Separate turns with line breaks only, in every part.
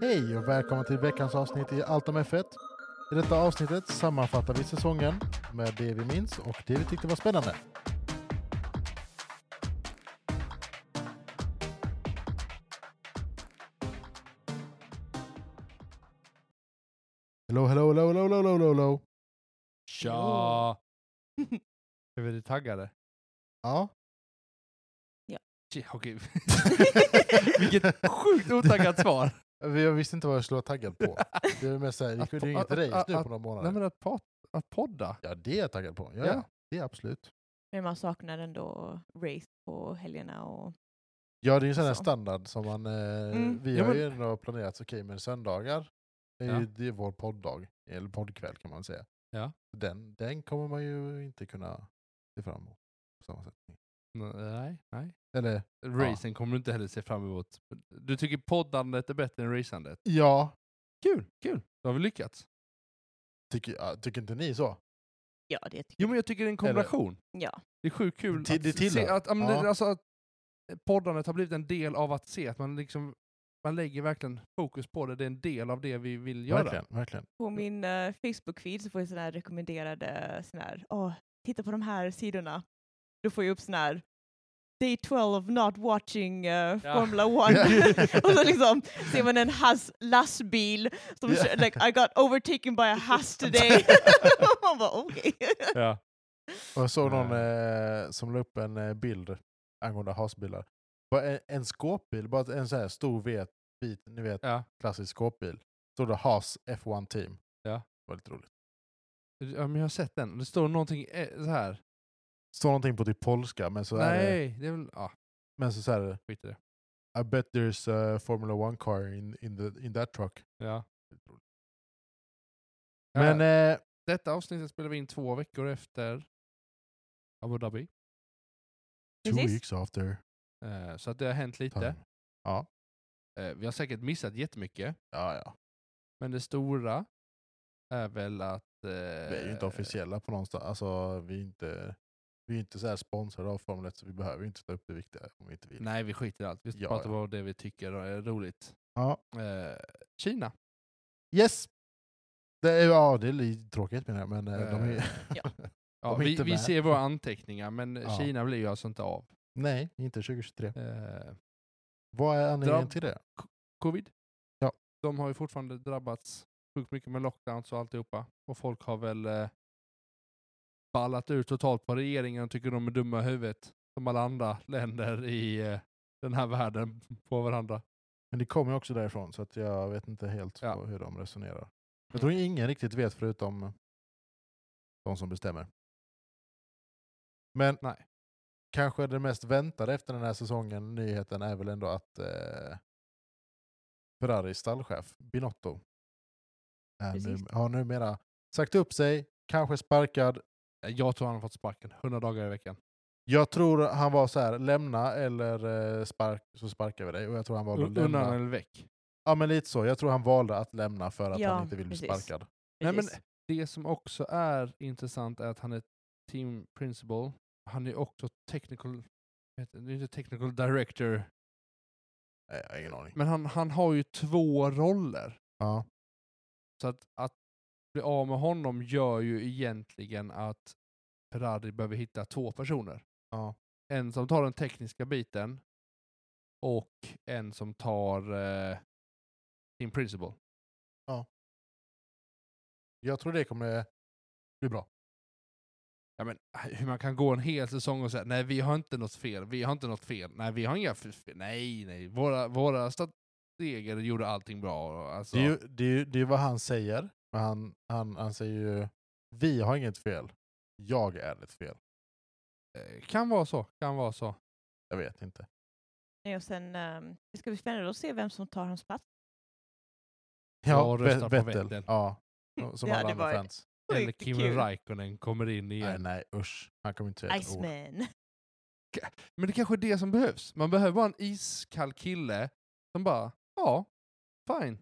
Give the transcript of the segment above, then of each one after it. Hej och välkomna till veckans avsnitt i Allt om F1. I detta avsnittet sammanfattar vi säsongen med det vi minns och det vi tyckte var spännande. Hello, hello, hello, hello, hello, hello, hello, hello.
Tja! Är vi taggade?
Ja,
Shit, Okej. Vilket sjukt otaggat svar!
vi- jag visste inte vad jag skulle vara taggad på. Det är mest så här, vi
Att-
kunde ju inget
att-
race nu
att-
på några
Nej
månader.
men att, pod att podda.
Ja, det är jag taggad på. Ja,
Ja.
ja. det är absolut.
Men man saknar ändå race på helgerna och...
Ja, det är ju sån här
Så.
standard som man... Eh,
Mm.
Vi
Ja,
har
men-
ju ändå planerat, så okej, men söndagar är
Ja.
ju det är vår podddag, eller poddkväll kan man säga.
Ja.
Den, den kommer man ju inte kunna se fram emot på samma sätt.
Nej, nej.
Eller
Racen kommer du inte heller se fram emot. Du tycker poddandet är bättre än racandet.
ja,
Kul, kul. Då har vi lyckats.
tycker, ja, tycker inte ni så?
Ja, det tycker
Jo men jag tycker det är en kombination.
jag. Ja.
Det är sjukt kul
Till- det
att
tillhör.
se att, ja, men det-
Ja.
alltså, att poddandet har blivit en del av att se. Att man liksom man lägger verkligen fokus på det. Det är en del av det vi vill göra.
Verkligen, verkligen.
På min eh, Facebook-feed så får jag sådana här rekommenderade sådana här, åh, titta på de här sidorna. Då får jag upp sådana här Day 12 not watching eh,
Ja.
Formula 1. och så liksom ser man en has, lastbil som
Ja.
kör, like I got overtaken by a has today. man bara okej.
Ja.
Och jag såg någon
Nej.
eh, som la upp en eh, bild angående hasbilar. Bara en, en skåpbil, bara en sån här stor vet, bit, ni vet,
Ja.
klassisk skåpbil. Stod det Haas F1 Team.
Ja.
Det var lite roligt.
ja, men jag har sett den. Det står någonting eh, så här.
Står någonting på typ polska, men så är det,
Nej, det är väl... Ja,
men så, så är det
skit i det.
I bet there's a Formula 1 car in, in, the, in that truck.
Ja.
Men
Men,
eh,
Detta avsnittet spelar vi in två veckor efter Abu Dhabi.
two
Precis.
weeks after
Eh, så att det har hänt lite.
time. Ja,
Eh, vi har säkert missat jättemycket.
ja, ja.
Men det stora är väl att... Eh,
Vi är ju inte officiella på någonstans. Alltså, vi är inte, vi är inte så här sponsrade av Formel 1 så vi behöver ju inte ta upp det viktiga om vi inte vill.
Nej, vi skiter i allt. Vi
Ja,
pratar
ja.
bara om det vi tycker är roligt.
Ja.
Eh, Kina.
Yes! Det är, ja, det är lite tråkigt menar jag, men eh, de är,
Ja.
Ja,
De är
vi
inte
vi
med.
ser våra anteckningar, men
Ja.
Kina blir ju alltså inte av.
nej, inte 2023.
Eh,
Vad är anledningen
Drabb-
till det?
covid.
Ja.
De har ju fortfarande drabbats sjukt mycket med lockdowns och alltihopa. Och folk har väl eh, ballat ur totalt på regeringen och tycker de är dumma i huvudet. Som alla andra länder i eh, den här världen på varandra.
Men det kommer ju också därifrån, så att jag vet inte helt
Ja.
på hur de resonerar. Jag tror ingen riktigt vet förutom de som bestämmer. Men
Nej.
kanske det mest väntade efter den här säsongen, nyheten, är väl ändå att eh, Ferraris stallchef Binotto är nu,
Precis.
har numera sagt upp sig, kanske sparkad.
Eh, Jag tror han har fått sparken 100 dagar i veckan.
Jag tror han var så här, lämna eller eh, spark, så sparkar vi dig. Och jag tror han valde att
Un- Undan
lämna.
eller väck.
Ja men lite så, jag tror han valde att lämna för att
Ja,
han inte vill bli
precis.
sparkad.
Nej, men
Precis.
det som också är intressant är att han är team principal. Han är också technical, heter det inte technical director,
Nej, jag har ingen aning.
men han, han har ju två roller.
Ja.
Så att, att bli av med honom gör ju egentligen att Ferrari behöver hitta två personer.
Ja.
En som tar den tekniska biten och en som tar eh, sin principal.
Jag tror det kommer bli bra.
Ja, men, eh, hur man kan gå en hel säsong och säga nej vi har inte något fel, vi har inte något fel, nej vi har inga f- f- nej nej, våra, våra strateger gjorde allting bra. Alltså,
Det är, ju, det, är ju, det är ju vad han säger. Men han, han, han säger ju vi har inget fel. Jag är ett fel.
eh, Kan vara så, kan vara så.
Jag vet inte.
Nej, och sen, ehm, det ska bli spännande att se vem som tar hans plats.
Jag
Ve-
röstar på Vettel.
Ja. Som alla
Det hade
andra
varit
fans.
Eller
Sjukt
Kim
kul.
Raikkonen kommer in igen.
Nej, nej usch. Han kommer inte säga ett ord.
Iceman.
Men det kanske är det som behövs. Man behöver bara en iskall kille som bara, ja, fine.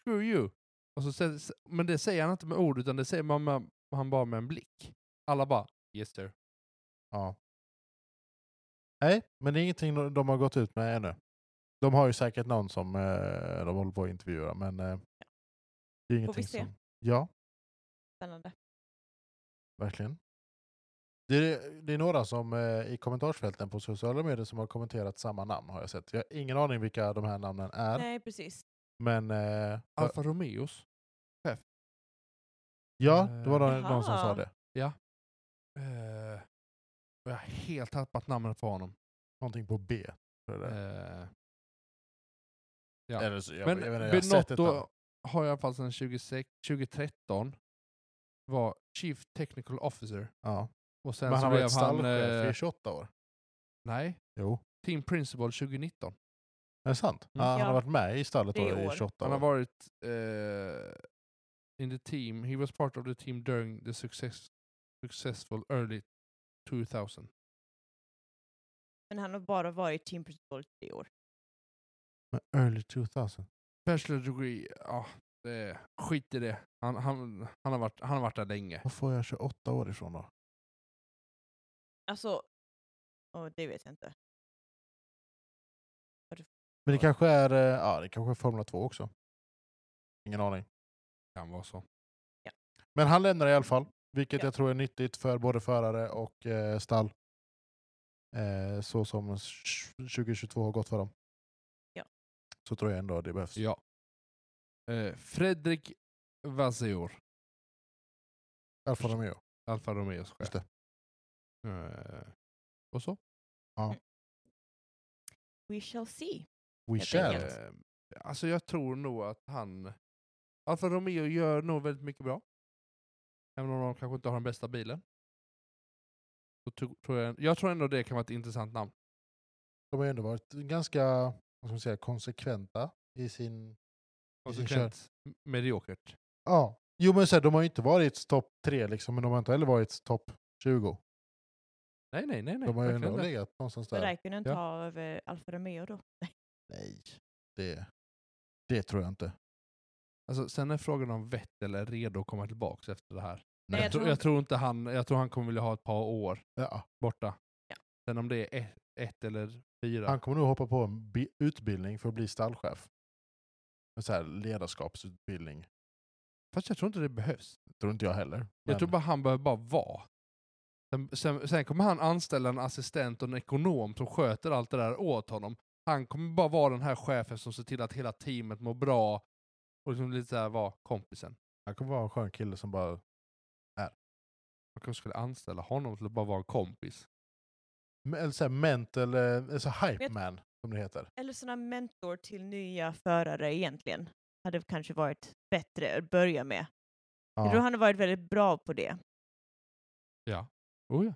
Screw you. Och så, sä- men det säger han inte med ord, utan det säger man med, han bara med en blick. Alla bara, yes sir.
Ja. Nej, men det är ingenting de- de har gått ut med ännu. De har ju säkert någon som eh, de håller på att intervjua, men eh, det är ingenting
se?
som... Ja,
Spännande.
verkligen. Det är, det är några som eh, i kommentarsfälten på sociala medier som har kommenterat samma namn har jag sett. Jag har ingen aning vilka de här namnen är,
Nej, precis.
men eh,
Alfa Romeos.
ja, det var någon,
Eh,
någon som sa
Jaha.
det.
Eh, och jag har helt tappat namnet på honom.
Någonting på B. tror jag det är.
Eh, ja.
Eller så, jag, jag,
Men
vet inte, jag har sett ett namn.
Benotto har i alla fall sedan 26, 2013 var Chief Technical Officer.
Ja.
Och sen
Men
så
han var
blev
ett stallchef
eh,
i 28 år.
Nej,
Jo.
Team Principal 2019.
Är det sant?
Mm.
Ja, han
Ja.
har varit med i stallet
Det är
då, i
år.
28 år.
Han har varit eh, in the team. He was part of the team during the success, successful early 2000.
Men han har bara varit team principal i tre år.
Men early 2000.
Bachelor degree, ja, det, skit i det. Han, han, han, har varit, han har varit där länge.
Var får jag 28 år ifrån då?
Alltså, oh, det vet jag inte.
Men det
Oj.
kanske är, eh, ja, det kanske är Formel 2 också. Ingen aning.
Kan vara så.
Men han lämnar i alla fall, vilket
Ja.
jag tror är nyttigt för både förare och eh, stall. Eh, så som 2022 har gått för dem.
Ja.
Så tror jag ändå det behövs.
Ja. Eh, Fredrik Vazior.
Alfa Romeo.
Alfa Romeos
Just
chef. Eh, och så.
We shall see.
We
Helt
shall.
enkelt.
Eh, alltså jag tror nog att han... Alfa Romeo gör nog väldigt mycket bra. Även om de kanske inte har den bästa bilen. Så tro, tror jag, jag tror ändå det kan vara ett intressant namn.
De har ju ändå varit ganska vad ska man säga, konsekventa i sin...
Konsekvent m- mediokert.
Ja. Jo men så här, de har ju inte varit topp tre liksom, men de har inte heller varit topp 20.
Nej, nej, nej. nej
De har ju
verkligen
ändå
inte.
legat någonstans
Men
där.
Räikkönen
Ja.
tar över eh, Alfa Romeo då.
Nej, det, det tror jag inte.
alltså, sen är frågan om Vettel är redo att komma tillbaka efter det här.
Nej.
Jag, tror,
han-
jag, tror inte han, jag tror han kommer vilja ha ett par år
Ja,
borta.
Ja.
Sen om det är ett, ett eller fyra.
han kommer nog hoppa på en bi- utbildning för att bli stallchef. En så här ledarskapsutbildning.
Fast jag tror inte det behövs.
tror inte jag heller.
Jag
men-
tror bara han behöver bara vara. Sen, sen, sen kommer han anställa en assistent och en ekonom som sköter allt det där åt honom. Han kommer bara vara den här chefen som ser till att hela teamet mår bra och liksom lite såhär vara kompisen.
Han kommer vara en skön kille som bara,
Man kanske skulle anställa honom till att bara vara en kompis.
m- eller så här mental, eh, eller så här hype
Vet-
man som det heter.
Eller sådana mentor till nya förare egentligen. Hade kanske varit bättre att börja med. Jag tror
Ja.
han har varit väldigt bra på det.
Oh ja.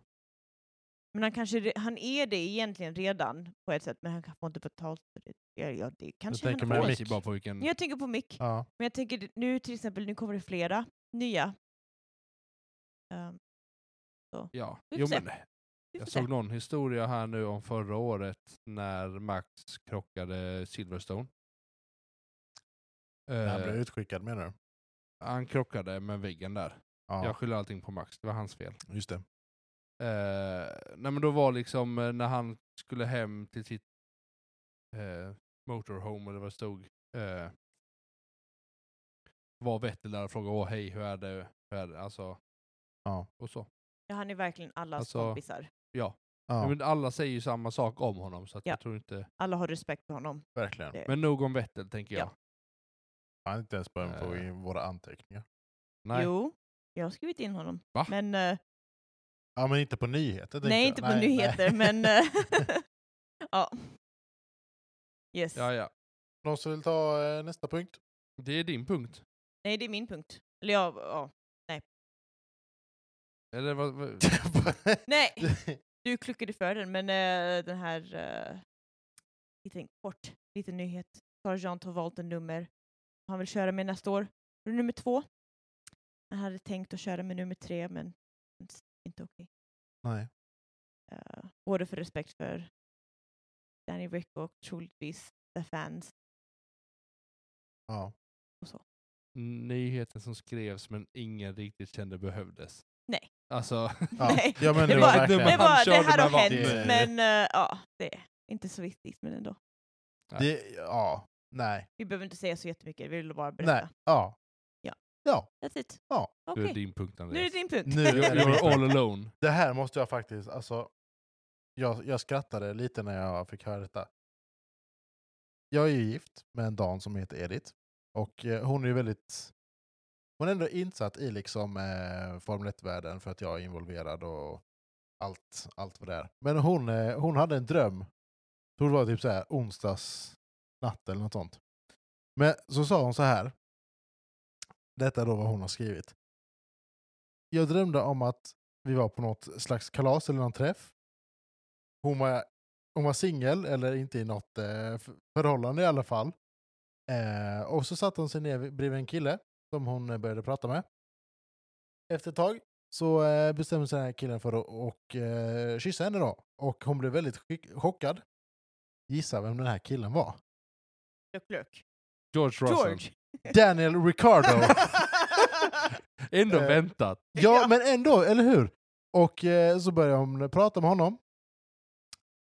Men han, kanske, re- han är det egentligen redan på ett sätt, men han får inte betalt för det. Ja, ja, det kanske
tänker
han
med
får.
Mick.
Mick. Bara på vilken...
Jag tänker på Mick,
Ja.
men jag tänker det- nu till exempel, nu kommer det flera nya. Ehm,
Ja.
Vi får
Jo,
se.
men,
vi får
jag
se.
såg någon historia här nu om förra året när Max krockade Silverstone.
När Han blev
Eh,
utskickad menar du?
han krockade med väggen där.
Ja,
Jag skyller allting på Max, det var hans fel.
just det.
Eh, nej men då var liksom eh, när han skulle hem till sitt eh, motorhome eller vad det stod. Eh, var Vettel där och frågade åh hej hur är det? Hur är det? Alltså,
Ja.
och så.
Ja, han är verkligen allas
Alltså-
kompisar.
Ja,
Men alla säger ju samma sak om honom så att
Ja.
jag tror inte.
Alla har respekt för honom.
verkligen.
det-
Men nog om Vettel tänker
Ja.
jag.
Han är inte ens börjat få
Eh.
i våra anteckningar.
Nej.
Jo, jag har skrivit in honom.
Va?
Men, eh,
Ja, men inte på nyheter. tänkte
nej,
jag.
inte på nyheter, men... eh, ja. Yes.
Ja, ja.
Någon som vill ta eh, nästa punkt?
Det är din punkt.
Nej, det är min punkt. Eller ja, ja.
Eller vad, vad,
Nej! Du kluckade för den, men eh, den här... Uh, liten kort, liten nyhet. Sargent har valt en nummer han vill köra med nästa år. Det är Nummer två. Han hade tänkt att köra med nummer tre, men det känns inte okej.
nej.
Eh, både för respekt för Danny Rick och troligtvis the fans.
Ja.
nyheten som skrevs men ingen riktigt kände behövdes.
Nej.
Alltså,
Ja,
Nej,
ja, men det var
det var-
verkligen. Mm.
Det,
Men han
var,
körde
det hade
med
hänt,
vatten.
men eh, ja, det är inte så viktigt. Men ändå.
Det, ja, nej.
Vi behöver inte säga så jättemycket, vi vill bara berätta.
nej. Ja.
Ja.
ja,
That's it.
Ja.
du
Okej,
är din punkt
nu är det
Andreas.
din punkt.
Nu är det min punkt.
You're all alone.
det här måste jag faktiskt, alltså. Jag, jag skrattade lite när jag fick höra detta. Jag är ju gift med en dam som heter Edith. Och eh, hon är ju väldigt, hon är ändå insatt i liksom eh, Formel 1-världen för att jag är involverad och allt, allt vad det är. Men hon, eh, hon hade en dröm. Tror det var typ så här onsdags natt eller något sånt. Men så sa hon så här. Detta är då vad hon har skrivit. Jag drömde om att vi var på något slags kalas eller någon träff. Hon var, hon var singel eller inte i något eh, f- förhållande i alla fall. Eh, och så satte hon sig ner vid- bredvid en kille som hon eh, började prata med. Efter ett tag så eh, bestämde sig den här killen för att och, eh, kyssa henne då. Och hon blev väldigt skick- chockad. Gissa vem den här killen var?
Lök, lök.
George Russell.
George!
Daniel Ricardo!
Ändå
Eh,
väntat.
Ja,
Ja.
men ändå, eller hur? Och eh, så började hon prata med honom.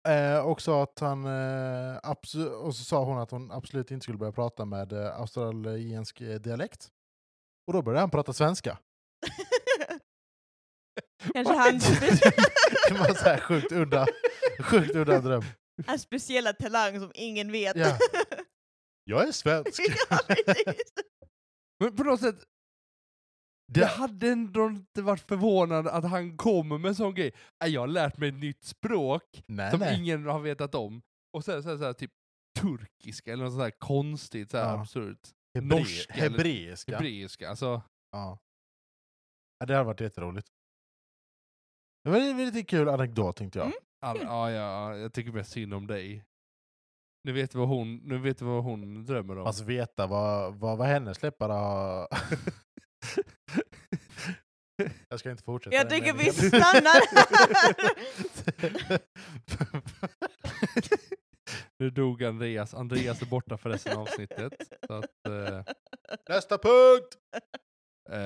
Eh, och, sa att han, eh, abso- och så sa hon att hon absolut inte skulle börja prata med eh, australiensk eh, dialekt. Och då började han prata svenska.
Kanske hans,
Det var så här sjukt udda, sjukt udda dröm.
hans speciella talang som ingen vet.
Ja. Jag är svensk.
Ja, precis.
Men på något sätt,
Det,
jag hade ändå inte varit förvånad att han kommer med en sån grej. "Nej, Jag har lärt mig ett nytt språk
nej,
som
nej.
ingen har vetat om. Och sen så här, så här, typ turkiska eller något sånt här konstigt, så här
Ja.
absurt.
Hebre-
norska eller-
Hebreiska.
Hebreiska. Alltså,
Ja. Ja, det hade varit jätteroligt. Det var en lite kul anekdot tänkte jag.
Mm.
all,
Kul.
ja, ja, jag tycker mest synd om dig. Nu vet du vad hon, nu vet du vad hon drömmer om.
Alltså veta vad, vad, vad hennes läppar har... Jag ska inte fortsätta.
Jag
den
tycker vi
meningen.
stannar
nu dog Andreas. Andreas är borta för resten av avsnittet. Så att, eh,
Nästa punkt!
eh,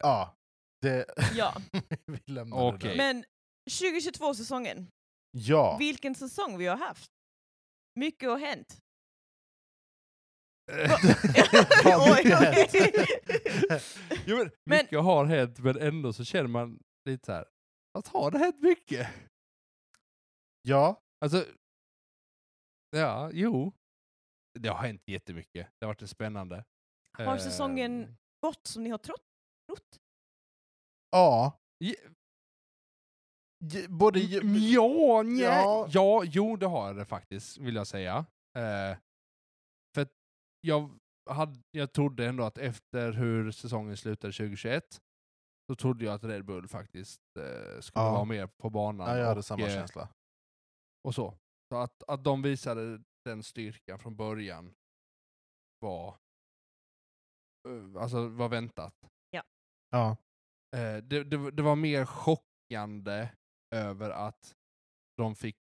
Ja, det...
Ja.
vi lämnar det där.
Okej.
Men 2022-säsongen,
Ja,
vilken säsong vi har haft. Mycket har hänt.
Vad
Oj,
mycket har
oj.
Jo, men,
Men-
mycket har hänt men ändå så känner man lite så här. Att har det hänt mycket?
ja,
Alltså, ja, jo. Det har hänt jättemycket. Det har varit spännande.
Har säsongen-
Ehm,
Gott som ni har trott. trott.
ja.
j-
J- Både...
Ja,
ju-
nja.
Ja.
ja. jo det har det faktiskt, vill jag säga. Eh, för att jag, hade, jag trodde ändå att efter hur säsongen slutade 2021, så trodde jag att Red Bull faktiskt eh, skulle
Ja.
vara med på banan.
Ja, jag hade
och,
samma
eh,
känsla.
och så. Så att, att de visade den styrkan från början var, eh, alltså var väntat.
Ja.
Eh, det, det, det var mer chockande över att de fick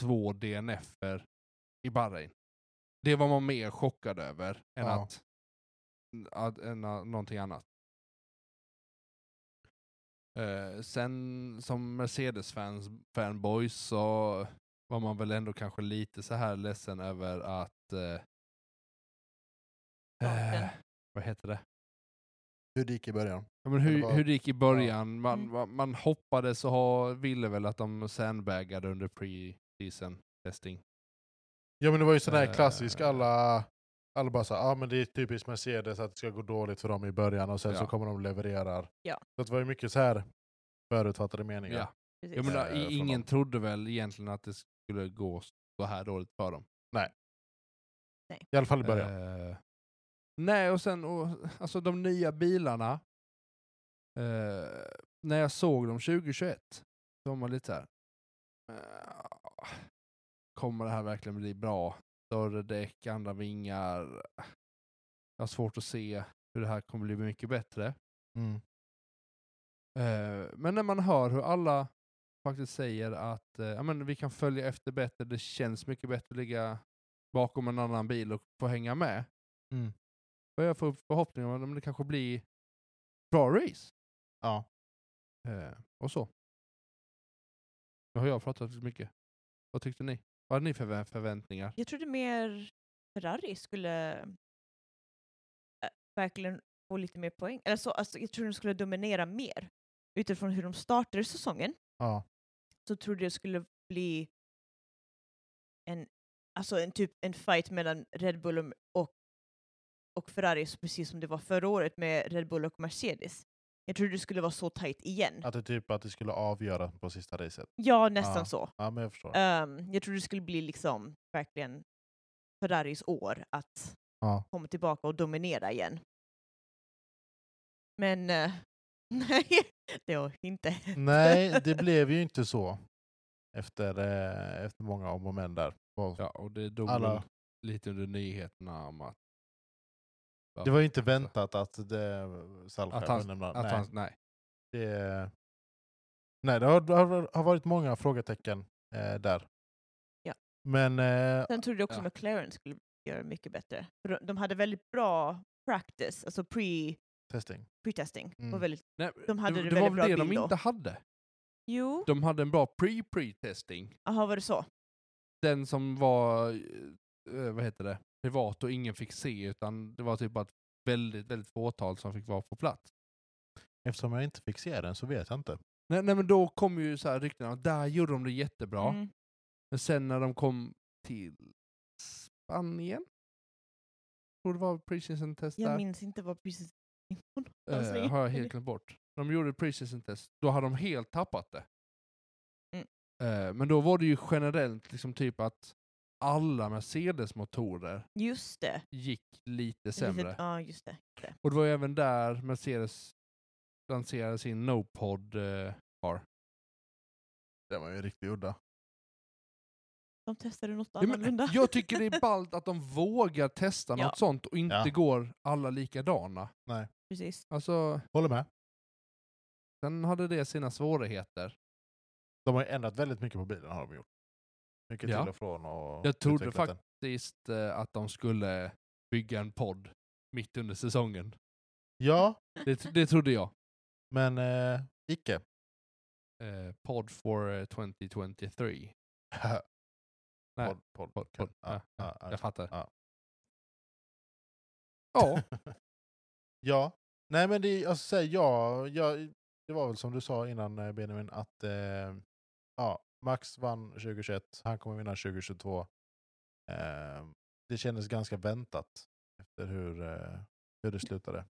två DNFer i Bahrain. Det var man mer chockad över än
Ja.
att, att än att, någonting annat. Eh, sen som Mercedes-fans, fanboys, så var man väl ändå kanske lite så här ledsen över att... Eh,
Starten.
eh, vad heter det?
Hur det gick i början.
Ja, men
Eller
hur,
vad-
hur det gick i början, man,
Mm.
man, man hoppades och ha- ville väl att de sandbaggade under pre-season testing.
Ja men det var ju sån här
Eh.
klassisk, alla, alla bara såhär, ah, men det är typiskt Mercedes att det ska gå dåligt för dem i början och sen så
Ja.
kommer de leverera.
Ja.
Så att det var ju mycket så här förutfattade
Ja.
meningar.
Ja.
Precis.
Jag menar,
Eh,
i-
från
ingen
dem.
trodde väl egentligen att det skulle gå så här dåligt för dem.
I alla fall i början.
Eh, nej, och sen och, alltså de nya bilarna. eh, när jag såg dem 2021, de var lite så här. eh, kommer det här verkligen bli bra? Större däck, andra vingar. Jag har svårt att se hur det här kommer bli mycket bättre.
Mm.
Eh, men när man hör hur alla faktiskt säger att eh, ja, men vi kan följa efter bättre, det känns mycket bättre att ligga bakom en annan bil och få hänga med.
Mm.
Och jag får förhoppningar om att det kanske blir bra race.
Ja.
Eh, och så. Nu har jag pratat lite mycket. Vad tyckte ni? Vad hade ni för förvä- förväntningar?
Jag trodde mer Ferrari skulle äh, verkligen få lite mer poäng. Eller så, alltså, jag trodde de skulle dominera mer. Utifrån hur de startade säsongen
Ja,
så trodde jag skulle bli en, alltså en, typ, en fight mellan Red Bull och, och, och Ferrari, så precis som det var förra året med Red Bull och Mercedes. Jag trodde det skulle vara så tajt igen.
att det typ att det skulle avgöra på sista racet.
Ja, nästan
Ja.
så.
Ja, men jag förstår.
Ehm, jag trodde det skulle bli liksom verkligen Ferraris år att
Ja.
komma tillbaka och dominera igen. Men eh, nej, det har inte.
Nej, det blev ju inte så. Efter, eh, efter många om och men där. Och
Ja, och det dog
Alla-
väl lite under nyheterna om att...
Det var ju inte väntat att det, Salchar
Att han-
var nämnda.
Att
Nej,
nej. Han, nej.
det, nej, det har, det har, har varit många frågetecken eh, där.
Ja.
Men eh,
Sen trodde jag också
Ja.
McLaren skulle göra mycket bättre. För de- de hade väldigt bra practice, alltså pre-
testing.
pre-testing. Det var
Mm.
Väldigt,
nej
de hade
det,
det
det var
väldigt
väl det
bra
de
bild
inte
då.
hade.
Jo,
De hade en bra pre-pre-testing.
jaha var det så?
Den som var, eh, vad heter det, privat och ingen fick se utan det var typ bara ett väldigt, väldigt fåtal som fick vara på plats.
Eftersom jag inte fick se den så vet jag inte.
Nej, nej men då kom ju så här ryktena, att där gjorde de det jättebra.
Mm.
Men sen när de kom till Spanien? Tror det var pre-season test
Jag
där.
minns inte vad precis... alltså,
Eh, har jag helt glömt bort. De gjorde pre-season test, då hade de helt tappat det.
Mm.
Eh, men då var det ju generellt liksom typ att alla Mercedes-motorer
Just det.
gick lite
Ett litet-
sämre.
Ja, just det.
Och det var ju även där Mercedes lanserade sin Nopod eh, car.
Den var ju riktigt udda.
De testade något
Ja, men
annorlunda.
jag tycker det är ballt att de vågar testa
Ja.
något sånt och inte
Ja.
går alla likadana.
Precis.
Alltså,
Håller med.
sen hade det sina svårigheter.
De har ju ändrat väldigt mycket på bilen har de gjort. Mycket
Ja.
till och från och
Jag trodde
utvecklat
fakt- Sist eh, att de skulle bygga en podd mitt under säsongen.
den. Ja,
Det, det trodde jag.
men eh, icke.
Eh, podd for eh, 2023. Nej.
Podd, podd,
Podd, podd.
Ja,
Ja,
ja, ja.
Jag fattar.
Ja.
Ja,
ja. Nej men det, alltså, så här, ja, ja, det var väl som du sa innan eh, Benjamin att eh, ja, Max vann 2021, han kommer vinna 2022. Eh, det kändes ganska väntat efter hur, eh, hur det slutade.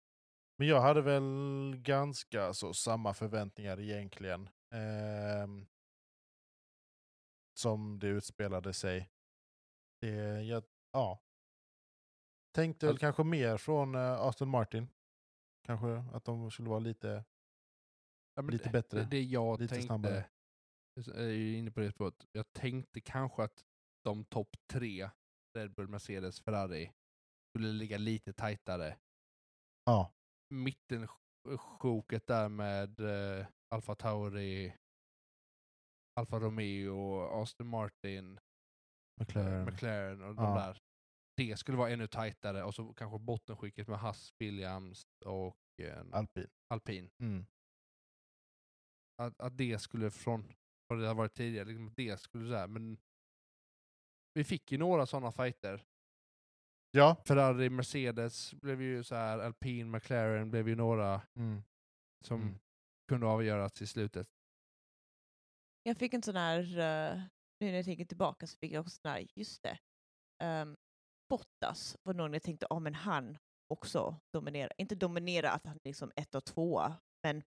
Men jag hade väl ganska så samma förväntningar egentligen. ehm, som det utspelade sig. Det, jag, ja. Tänkte väl
Alltså-
kanske mer från eh, Aston Martin. Kanske att de skulle vara lite...
Ja, men
Lite
det-
bättre,
Det, det jag
lite
tänkte,
snabbare.
jag är ju inne på det spåret, jag tänkte kanske att de topp tre, Red Bull, Mercedes, Ferrari, skulle ligga lite tajtare.
Ja,
Mittensjoket där med eh, Alfa Tauri, Alfa Romeo, Aston Martin,
McLaren.
eh, McLaren och de
Ja.
där. Det skulle vara ännu tajtare och så kanske bottenskicket med Haas, Williams och eh,
Alpin.
Alpin.
Mm.
att, att det skulle från vad det har varit tidigare, liksom att det skulle såhär, men vi fick ju några sådana fighter.
Ja.
Ferrari, Mercedes blev ju så här, Alpine, McLaren blev ju några
Mm.
som
Mm.
kunde avgöras i slutet.
Jag fick en sån här, eh, nu när jag tänker tillbaka så fick jag också sån här, just det. ehm, Bottas var någon jag tänkte, ja men han också dominerar. Inte dominera att han är liksom ett och tvåa, men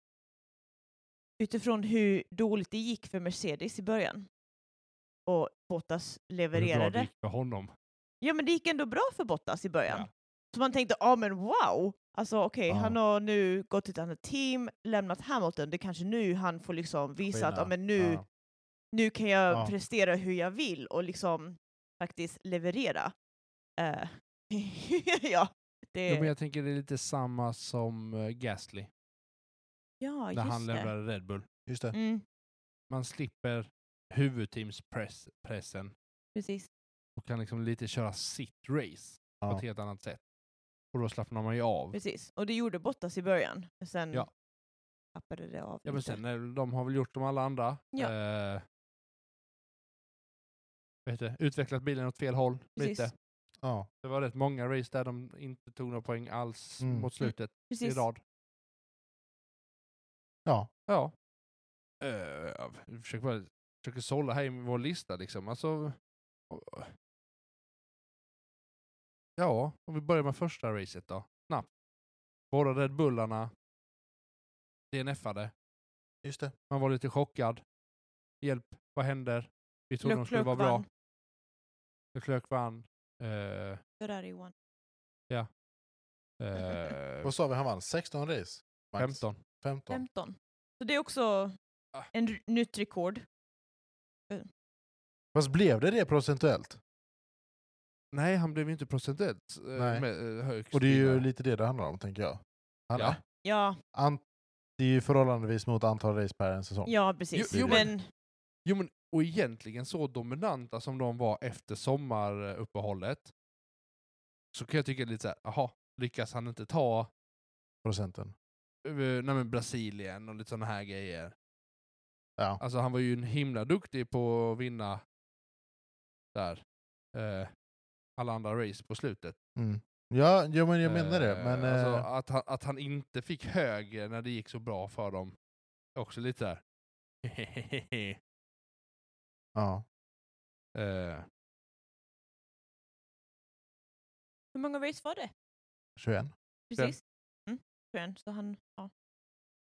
utifrån hur dåligt det gick för Mercedes i början och Bottas levererade.
för honom.
Ja men det gick ändå bra för Bottas i början.
Ja.
Så man tänkte, ja men wow! Alltså okej,
Ja.
han har nu gått till ett annat team, lämnat Hamilton, det är kanske nu han får liksom visa att, ja
Skillnad.
men nu
Mm.
Ja.
nu kan jag
Ja.
prestera hur jag vill och liksom faktiskt leverera. Eh, ja, det,
Ja, men jag tänker det är lite samma som eh, Gasly,
ja,
när han
just det.
lämnade Red Bull.
Just det.
Mm,
Man slipper huvudteamspressen
precis.
och kan liksom lite köra sitt race på
Ja.
ett helt annat sätt. Och då slappnar man ju av.
precis. Och det gjorde Bottas i början. Men sen
Ja.
tappade tappade det av
Ja men
lite.
sen är, de har väl gjort som alla andra.
Ja.
Eh, vet du, utvecklat bilen åt fel håll
Precis.
lite.
Ja.
Det var rätt många race där de inte tog några poäng alls
Mm.
mot slutet
Precis.
i rad.
Ja.
Ja. Uh, jag försöker, bara, försöker sålla här i vår lista liksom. Alltså, eh. ja, om vi börjar med första racet då. Snabbt. Båda Red Bullarna DNFade.
Just det.
Man var lite chockad. Hjälp, vad händer? Vi trodde de
Leclerc
skulle vara bra.
vann.
Leclerc vann. Eh,
Ferrari vann.
eh,
Vad sa vi han vann? 16 race? Max.
15.
15.
15. Så det är också
Ah.
en r- nytt rekord.
Fast blev det det procentuellt?
Nej, han blev ju inte procentuellt eh,
Nej.
med, eh, högst.
Och det är
i
ju
där.
lite det det handlar om, tänker jag. Han,
Ja.
Ja,
an, det är ju förhållandevis mot antal race per en säsong.
ja precis.
jo,
men,
men- Jo, men, och egentligen så dominanta som de var efter sommaruppehållet så kan jag tycka lite såhär, jaha, lyckas han inte ta
Procenten.
eh, nej, men Brasilien och lite sådana här grejer.
Ja.
Alltså han var ju en himla duktig på att vinna där. Eh, alla andra race på slutet.
Mm. Ja, jo, men jag menar det.
Eh,
Men,
alltså,
eh,
att, han, att han inte fick högre när det gick så bra för dem. Också lite där.
ja.
eh,
hur många race var det?
21.
Precis. Mm, 21. Så han, ja,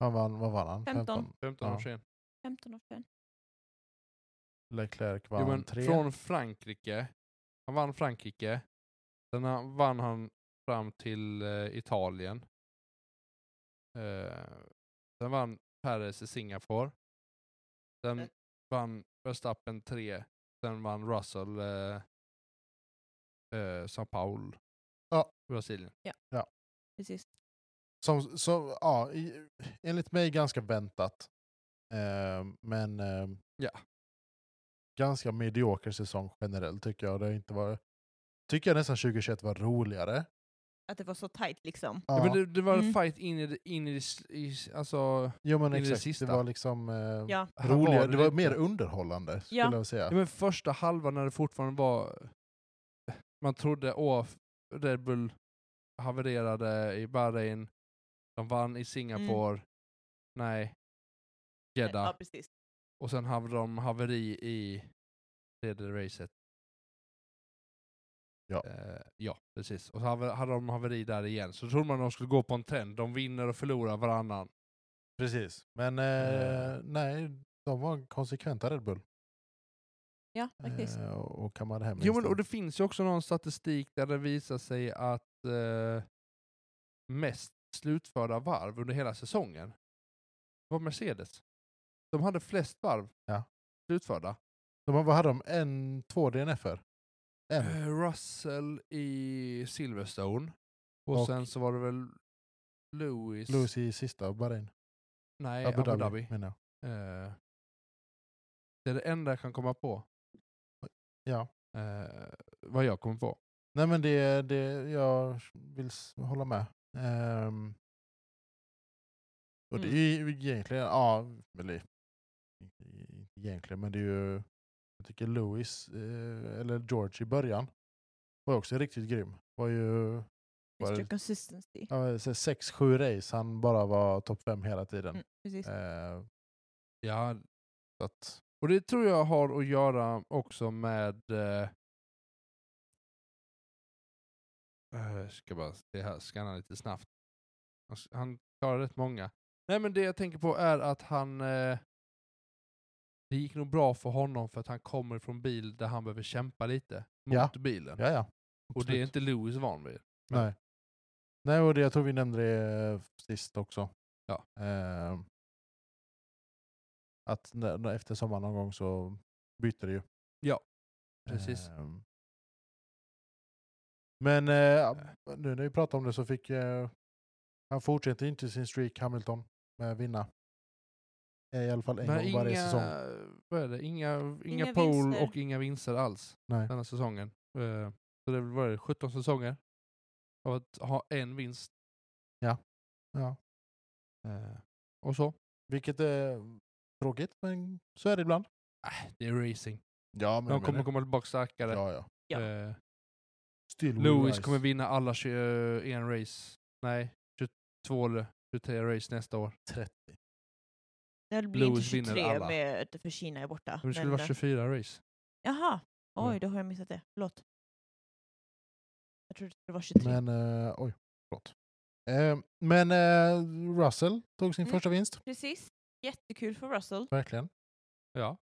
Han vann, vad vann han?
15.
15
Ja.
år sen.
15 och 21.
Leclerc
Jo,
vann
men
3.
från Frankrike. Han vann Frankrike. Sen han- vann han fram till eh, Italien. Eh, sen vann Perez i Singapore. Sen
Mm.
vann Verstappen 3. Sen vann Russell eh, eh, São Paulo.
Ja.
Brasilien.
Precis.
Som, som, ja, i- enligt mig ganska väntat. Eh, men eh,
Ja.
ganska medioker säsong generellt tycker jag. Det har inte varit, tycker jag nästan 2021 var roligare.
Att det var så tight liksom.
Ja. men
det,
det, det var en
Mm.
fight in i, det- in i, det s- i s- alltså,
jo, men
det är det
exakt. Det,
sista.
var liksom eh,
Ja.
han
roligare.
var
det var
lite-
mer underhållande skulle
Ja.
jag säga.
Ja, men första halvan när det fortfarande var... Man trodde åh, Red Bull havererade i Bahrain, de vann i Singapore, nej, Jeddah,
Mm. Ja, precis.
och sen hade de haveri i tredje racet.
Ja.
Eh, ja, precis. Och så hade hade de haveri där igen. Så trodde man de skulle gå på en trend, de vinner och förlorar varannan.
Precis. Men eh, nej, de var konsekventa Red Bull.
Ja, faktiskt.
Eh, och, och kammade hem
Jo, men,
vinsten.
och det finns ju också någon statistik där det visar sig att eh, mest slutförda varv under hela säsongen var Mercedes. De hade flest varv
Ja.
slutförda.
de, vad hade de? En, två DNFer? En?
Eh, Russell i Silverstone och,
Och-
sen så var det väl Lewis,
Lewis i sista och Bahrain.
nej,
Abu, Dhabi,
Dhabi.
menar jag.
Eh, det är det enda jag kan komma på.
Ja.
Eh, vad jag kommer på.
Nej men det, det jag vill s- hålla med. Ehm, och
Mm.
det är ju egentligen, ja, eller inte egentligen, men det är ju, jag tycker Louis, eh, eller George i början, var också riktigt grym. Var ju var
Extra
det-
consistency.
ja, så här sex sju race, han bara var topp fem hela tiden.
Mm, precis.
Eh,
Ja,
så att,
Och det tror jag har att göra också med... Eh, eh, jag ska bara det här, scanna lite snabbt. Han s- Han klarar rätt många. Nej men det jag tänker på är att han... Eh, det gick nog bra för honom för att han kommer från bil där han behöver kämpa lite mot
Ja.
bilen.
ja, ja.
Och det är
absolut.
inte Lewis van vid.
Nej. Nej, och det, jag tror vi nämnde det eh, sist också.
Ja.
Ehm, att när, när- efter sommaren någon gång så byter det ju.
Ja, precis.
Ehm. men eh, ja, nu när vi pratar om det så fick eh, han fortsätter inte sin streak Hamilton med att vinna. Eh, I alla fall en
Men
gång varje
inga,
säsong.
vad är det? inga, inga,
Inga
pole
vinster.
och inga vinster alls.
Nej.
den här säsongen. Eh, Så det var det 17 säsonger av att ha en vinst.
Ja. Ja.
Eh, Och så.
Vilket är tråkigt, men så är det ibland.
Äh, det är racing.
Ja, men
De
jag
kommer
menar-
komma tillbaka starkare.
Ja, ja.
Ja.
Eh,
Still will
Lewis
rise.
kommer vinna alla 21 race. Nej, 22 eller 23 race nästa år.
30.
Det blir inte
Lewis vinner
23
alla.
med, för Kina är borta.
Men det skulle
men, eh,
vara 24 race.
Jaha, oj
Mm.
då har jag missat det. Förlåt. Jag trodde det var 23.
Men, eh, oj, förlåt. Eh, men eh, Russell tog sin
Mm.
första vinst,
Precis. Jättekul för Russell.
verkligen.
Ja.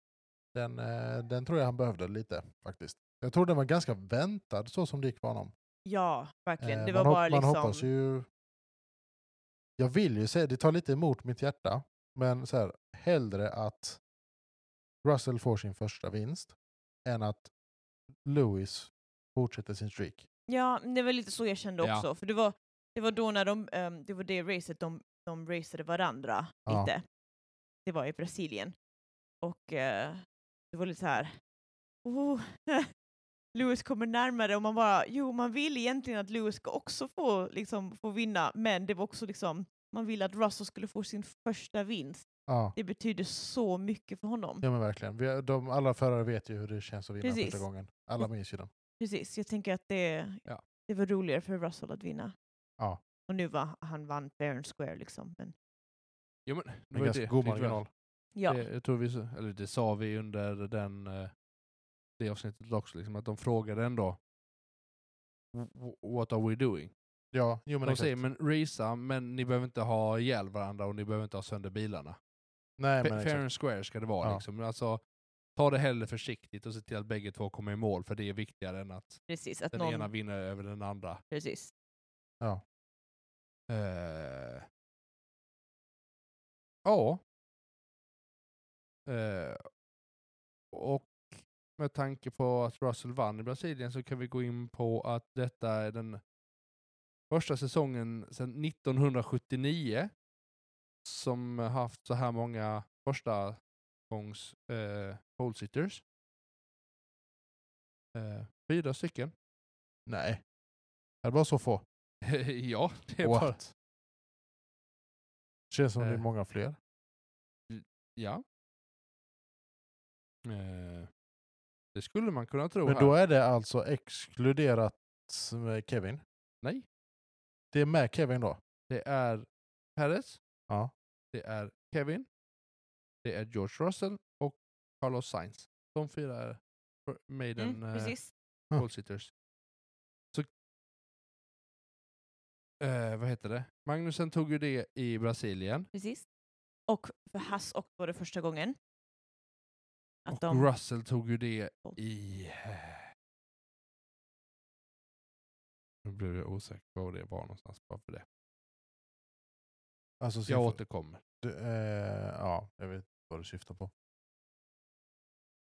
Den, eh, den tror jag han behövde lite, faktiskt. Jag tror den var ganska väntad, så som det gick för honom.
Ja, verkligen.
Eh,
det var
man, hop-
bara liksom...
man hoppas ju... Jag vill ju säga, det tar lite emot mitt hjärta, men så här, hellre att Russell får sin första vinst än att Lewis fortsätter sin streak.
Ja, men det var lite så jag kände
Ja.
också. För det var, det var då när de, ehm, det var det racet de, de racade varandra
Ja.
lite. Det var i Brasilien. Och eh, det var lite så här. Oh, Lewis kommer närmare och man bara, jo man vill egentligen att Lewis ska också få, liksom, få vinna, men det var också liksom, man ville att Russell skulle få sin första vinst.
Ja,
Det betyder så mycket för honom.
ja men verkligen. Vi, har- de, alla förare vet ju hur det känns att vinna
Precis.
första gången. Alla minns ju den.
Precis, jag tänker att det,
Ja.
det var roligare för Russell att vinna.
Ja.
Och nu var han vann fair and square liksom. Men,
Jo, men, det
Med
var ju
ganska
det.
god
Det är ju
marginal.
ja.
Det, jag tror vi, sa- eller det sa vi under den, eh, det avsnittet också, liksom, att de frågade ändå "W- What are we doing?
Ja, jo men
de
exakt.
säger men racea, men ni behöver inte ha ihjäl varandra och ni behöver inte ha sönder bilarna.
Nej,
Fa-
men
Fair
exakt.
and square ska det vara.
Ja.
Liksom. Alltså, ta det hellre försiktigt och se till att bägge två kommer i mål, för det är viktigare än att
Precis, att
den
någon...
ena vinner över den andra.
Precis.
Eh, ja. Eh, och med tanke på att Russell vann i Brasilien så kan vi gå in på att detta är den första säsongen sedan 1979 som haft så här många första gångs eh, pole sitters. Eh, fyra stycken.
Nej. Det är bara så få.
ja, det är bara...
What? Känns som det är
Eh.
många fler.
Ja. Eh, det skulle man kunna tro
Men
här.
då är det alltså exkluderat med Kevin.
Nej,
Det är med Kevin då?
det är Perez,
Ja.
det är Kevin, det är George Russell och Carlos Sainz. De fyra är för- made
Mm,
in eh,
precis.
Ja.
pole sitters. Så, eh, vad heter det? Magnusen tog ju det i Brasilien.
precis. Och för Hass och var det första gången. Att
och
de...
Russell tog ju det i... Nu blev jag osäker på var det var någonstans bara för det.
Alltså,
Jag
siffror-
återkommer.
du, eh, ja, jag vet vad du syftar på.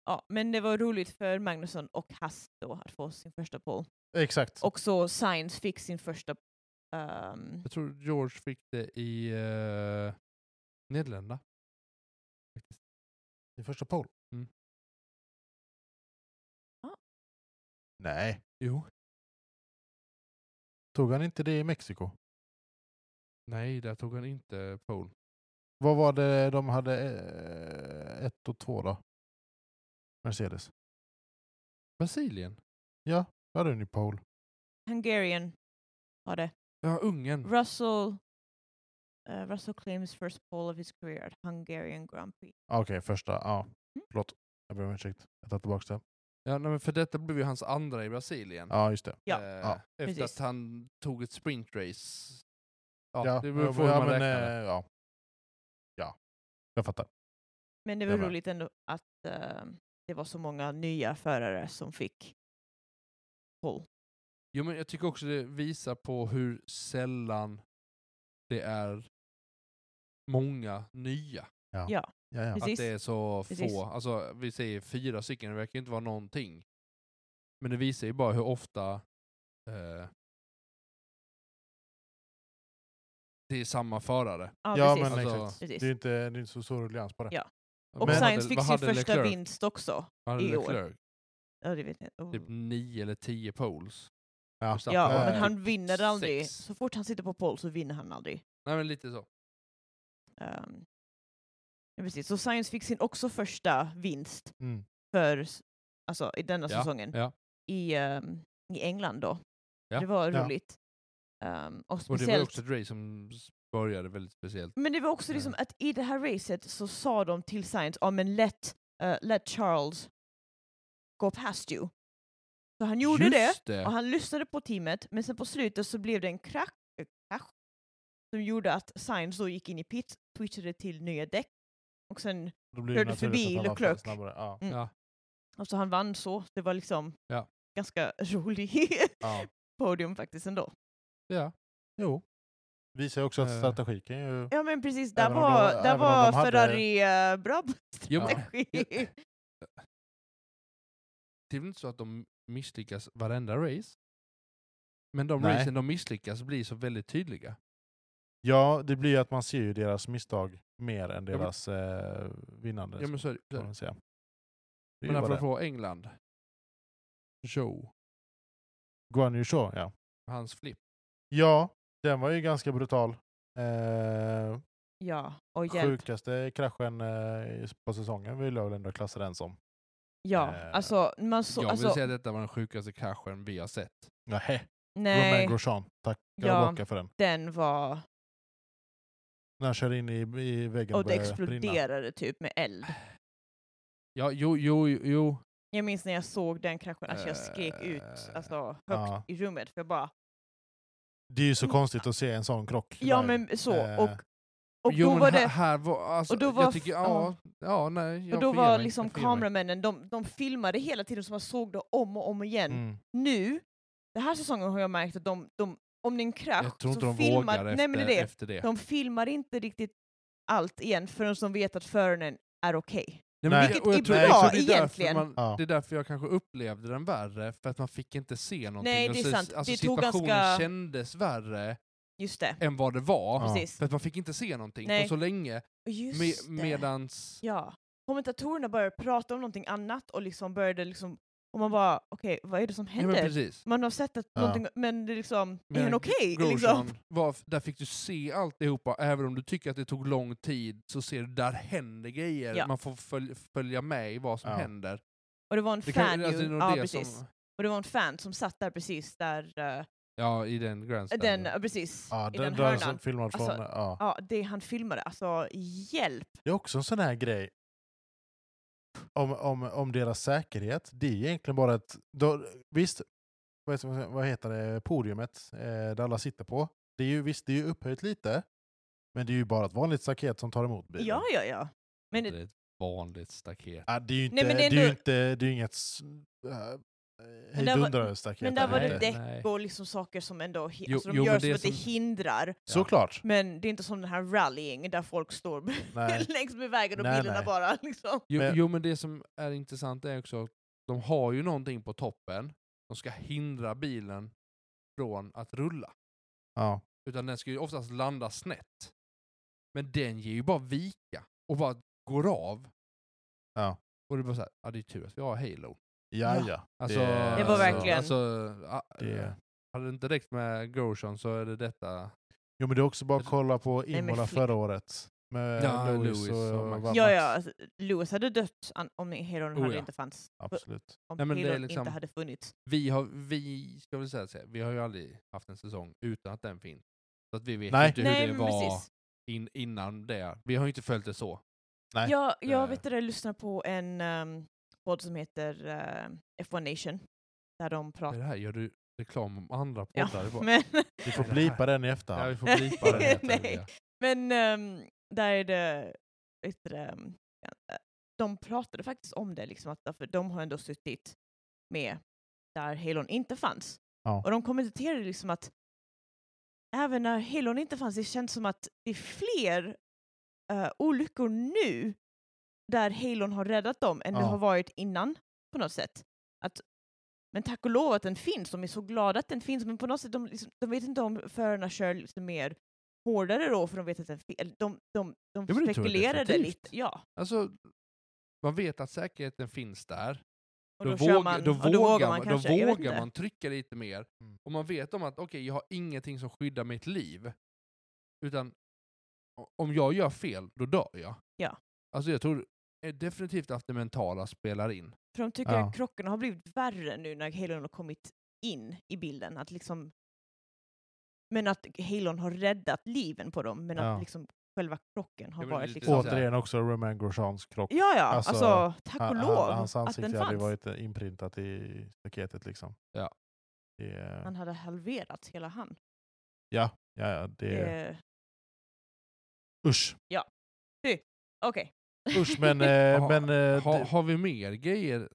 Ja, men det var roligt för Magnusson och Hass då att få sin första pole.
Exakt.
Och så Sainz fick sin första... ehm,
Jag tror George fick det i eh, Nederländerna. Faktiskt.
Din första pole?
Mm.
Ja.
Nej,
Jo.
tog han inte det i Mexiko?
Nej, där tog han inte pole.
Vad var det de hade eh, ett och två då? Mercedes.
Brasilien?
Ja, då hade ni pole.
Hungarian var det.
Ja, Ungern.
Russell... eh, Russell claims first pole of his career at Hungarian Grand Prix.
Ah, Okej, första. Ja,
Mm.
förlåt. Jag ber om ursäkt. Jag tar tillbaka det.
Ja, nej, men för detta blev ju hans andra i Brasilien.
Ja, just det.
Ja.
Eh,
Ja.
Efter
Precis.
att han tog ett sprintrace. Ja,
ja,
det beror på hur
ja,
man
men,
räknar det.
eh, ja. ja, jag fattar.
Men det var
Jag med.
roligt ändå att eh, det var så många nya förare som fick pole.
Jo, men jag tycker också det visar på hur sällan det är många nya.
Ja,
Ja, ja.
Precis.
Att det är så
Precis.
få. Alltså, vi säger fyra stycken, det verkar ju inte vara någonting. Men det visar ju bara hur ofta eh, det är samma förare.
ja,
ja
precis.
men
Alltså-
exakt.
Precis.
Det är ju inte, det är inte så stor ruljans på det.
Ja.
Vad
och
men-
Sainz fick
vad
sin
hade
första
Leclerc?
vinst också.
Vad hade
i år.
Leclerc?
Ja, det vet jag. inte. Oh.
Typ nio eller tio poles.
Ja.
Förstappen
Ja,
hade
men
eh,
typ
han vinner aldrig.
sex.
Så fort han sitter på pole så vinner han aldrig.
Nej men lite så.
Ehm, Ja, precis. Så science fiction också första vinst
Mm.
för s- alltså, i denna
Ja,
säsongen
ja.
I, ehm, i England då.
Ja.
Det var
Ja.
roligt. Ehm, och
Och det var ju
speciellt
också ett race som s- började väldigt speciellt.
Men det var också liksom att i det här racet så sa de till Science, ja men let, eh, let Charles gå past you. Så han gjorde det,
Just det!
och han lyssnade på teamet, men sen på slutet så blev det en krack, eh, krasch som gjorde att Science då gick in i pit, twitchade till nya däck, och sen
Då blir det
Körde
naturligt
förbi
att alla
Leclerc.
kör snabbare. Ja.
Mm.
Ja.
alltså han vann så, det var liksom
Ja.
ganska rolig
Ja.
podium faktiskt ändå.
Ja.
Jo. Visar ju också att
Eh.
strategi kan ju...
Ja men precis, där
Även om de-
var,
även
där
om
var
de hade-
Ferrari eh, bra på
Jo, men-
strategi.
Ja. Det är väl typ inte så att de misslyckas varenda race? Men de
Nej.
racen de misslyckas blir så väldigt tydliga.
Ja, det blir ju att man ser ju deras misstag mer än
men-
deras eh, vinnande.
Ja men så är det. Så är
kan
det.
man säga. Det är
Men
ju bara det.
apropå England. Joe,
Guan Yu Zhou, ja.
hans flip.
Ja, den var ju ganska brutal. Eh,
Ja, och hjälp.
sjukaste kraschen eh, på säsongen vill jag väl ändå klassa den som.
Ja,
Eh,
alltså man så,
jag
alltså,
vill säga att detta var den sjukaste kraschen vi har sett.
Nej. Romain
nej,
Grosjean, tackar
Ja.
ja. bocka för den.
den var...
När han kör in i, i väggen
Och det
börjar brinna.
exploderade typ med eld.
Ja, jo, jo, jo, jo.
Jag minns när jag såg den kraschen, alltså jag skrek ut
Eh,
alltså, högt
ja.
i rummet för jag bara,
Det är ju så konstigt att se en sån krock.
ja
live.
men så.
Eh,
Och, och
jo,
då
men
var
här,
det,
här var, alltså,
och då var
jag
f-
tycker,
ja.
ja, ja, nej. Jag
och då
får ge
var
mig,
liksom
jag får ge mig.
kameramännen, de, de filmade hela tiden så man såg det om och om igen.
Mm.
Nu, den här säsongen har jag märkt att de, de om det är en krasch
Jag tror inte
så
de
filmar,
vågar
nej, men
efter
det är det.
efter det.
de filmar inte riktigt allt igen förrän de vet att föraren är okej.
Nej,
Nej.
men
Vilket
och jag
är
tror
bra
exakt, det är därför
egentligen.
Man,
Ja.
Det är därför jag kanske upplevde den värre, för att man fick inte se någonting.
Nej,
Och
det är
så-
sant.
Alltså,
Det tog
situationen
ganska-
kändes värre
Just det,
än vad det var,
Ja.
precis.
för att man fick inte se någonting
Nej.
på så länge.
Just
Me
det.
medans...
Ja. Kommentatorerna började prata om någonting annat och liksom började liksom, och man bara okej, vad är det som
Ja, men
händer?
precis.
man har sett att
Ja.
någonting, men det är liksom, är
Medan
han okej?
Grosjean
liksom?
var, där fick du se alltihopa, även om du tycker att det tog lång tid, så ser du där händer grejer.
Ja.
Man får följ, följa med i vad som
Ja.
händer.
Och det var en
Det kan-
fan
alltså, det
ju,
är nog
ja
det
precis.
som-
Och det var en fan som satt där precis där, eh,
Ja, i den Grand Slam.
den, ja, precis,
Ja,
i
den,
den,
den
hörnan.
som filmad från...
Alltså,
ja.
Ja, det han filmade, alltså hjälp!
Det är också en sån här grej om, om, om deras säkerhet. Det är egentligen bara ett... Då, visst, vad heter- vad heter det, podiumet eh, där alla sitter på. Det är ju, visst, det är ju upphöjt lite, men det är ju bara ett vanligt staket som tar emot bilen.
Ja, ja, ja. Men
Det är ett vanligt staket.
Ja, det är ju inte...
Nej, men det
det, är
är
ju
ändå-
inte det är ju inget s- äh, hejdundrade staket.
men där var
eller
det
inte.
Nej,
däck
nej.
och liksom saker som ändå, hi-
Jo,
alltså de
jo,
gör
men
så
det är
att det
som-
hindrar.
Såklart!
Men det är inte som den här rallying där folk står
Nej.
längs med vägen och
Nej,
bilarna
nej.
bara liksom.
Jo,
Men-
jo men det som är intressant är också att de har ju någonting på toppen som ska hindra bilen från att rulla.
Ja.
Utan den ska ju oftast landa snett. Men den ger ju bara vika och bara går av.
Ja.
Och det är bara såhär, ja det är tur att vi har Halo.
Ja,
Ja.
ja.
Alltså,
Det-
Det var verkligen-
Alltså, ja,
Det-
Hade det inte räckt med Grosjean så är det detta.
Jo, men det är också bara att
Jag-
kolla på
men
Imola
Flip-
förra året. Med
Ja,
Lewis
Lewis
och,
och Max.
Max.
Ja, ja, alltså, Lewis hade dött an- om Hedon
Oh,
hade
ja.
inte fanns,
Absolut.
om
Nej, men det är
Hedon inte
liksom-
hade funnits.
Vi har, vi, ska väl säga, så här, vi har ju aldrig haft en säsong utan att den finns. Så att vi vet
Nej.
inte hur
Nej,
det
men
var
precis.
in, innan det. Vi har ju inte följt det så.
Nej.
Jag, jag
Eh.
vet att jag lyssnar på en um, podd som heter ehm, F1 Nation, där de
Det
pratar...
här gör du reklam om andra
Ja,
poddar. Det är bara-
men
Vi får
Nej, det
blipa
här-
den i
Ja, vi
efterhand.
får blipa det. här,
Nej.
Tobias.
men ehm, där är det... Vet du, det, ehm, eh, de pratade faktiskt om det, liksom, att, för de har ändå suttit med där Halon inte fanns.
Ja.
Och de kommenterade liksom att även när Halon inte fanns, det känns som att det är fler eh, olyckor nu där Halon har räddat dem än det
Ja.
har varit innan på något sätt. Att, men tack och lov att den finns, de är så glada att den finns, men på något sätt, de, liksom, de vet inte om förarna kör lite mer hårdare då, för de vet att den finns. De, de, de,
men det tror jag
spekulerade
definitivt.
lite. Ja.
Alltså, man vet att säkerheten finns där.
Och då,
då,
kör
våg,
man,
då
och
vågar,
då vågar man
man,
kanske.
då
jag vet
vågar
inte.
man trycka lite mer.
Mm.
Och man vet om att okej, jag har ingenting som skyddar mitt liv. Utan o- om jag gör fel, då dör jag.
Ja.
Alltså jag tror eh, definitivt att det mentala spelar in.
För de tycker
Ja.
att krockarna har blivit värre nu när Halon har kommit in i bilden. Att liksom... Men att Halon har räddat liven på dem, men
Ja.
att liksom själva krocken har
Ja, men
varit
lite
liksom...
så här.
Återigen också Romain Grosjeans krock.
Ja, ja,
Alltså,
alltså, tack och
Han- han-
lov
hans
att den
ansikte hade
fanns.
ju varit eh, inprintat i staketet liksom.
Ja.
Det, är-
Han hade halverats, hela han.
ja, ja, ja, det är...
Eh,
Usch,
Okej.
usch men... eh,
Ha-
men eh,
Ha,
det-
har vi mer grejer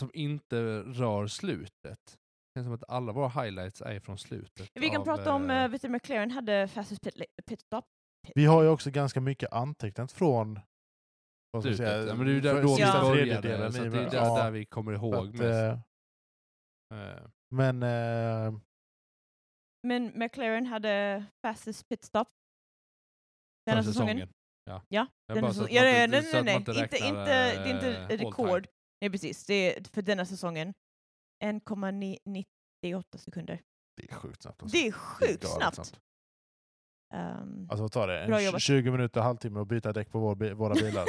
som inte rör slutet? Det känns som att alla våra highlights är från slutet.
Vi kan
av,
prata om,
eh,
eh, vet du, McLaren hade fastest pit, pit stop.
vi har ju också ganska mycket antecknat från... Vad ska jag
slutet.
säga,
Ja, men det är ju där
för
då vi
sista
började,
tredjedelen
så
i
att det är
världen.
där,
Ja,
där vi kommer ihåg
så att,
mest.
eh,
Eh,
Men eh,
Men McLaren hade fastest pit stop. Den här
för
säsongen.
Ja.
Ja,
Jag
den
bara
är
så
så-
att
ja,
man
nej,
inte-
nej,
så att man
nej, nej.
räknar,
Inte, inte, det är
eh,
inte
all time.
rekord. Nej, precis. Det är för denna säsongen 1,98 sekunder.
det är sjukt snabbt. Alltså.
Det är sjukt
galet
snabbt.
alltså.
Ehm,
Alltså vad tar det? En
Bra
tj-
jobbat.
20 minuter, halvtimme att byta däck på vår, bi- våra bilar?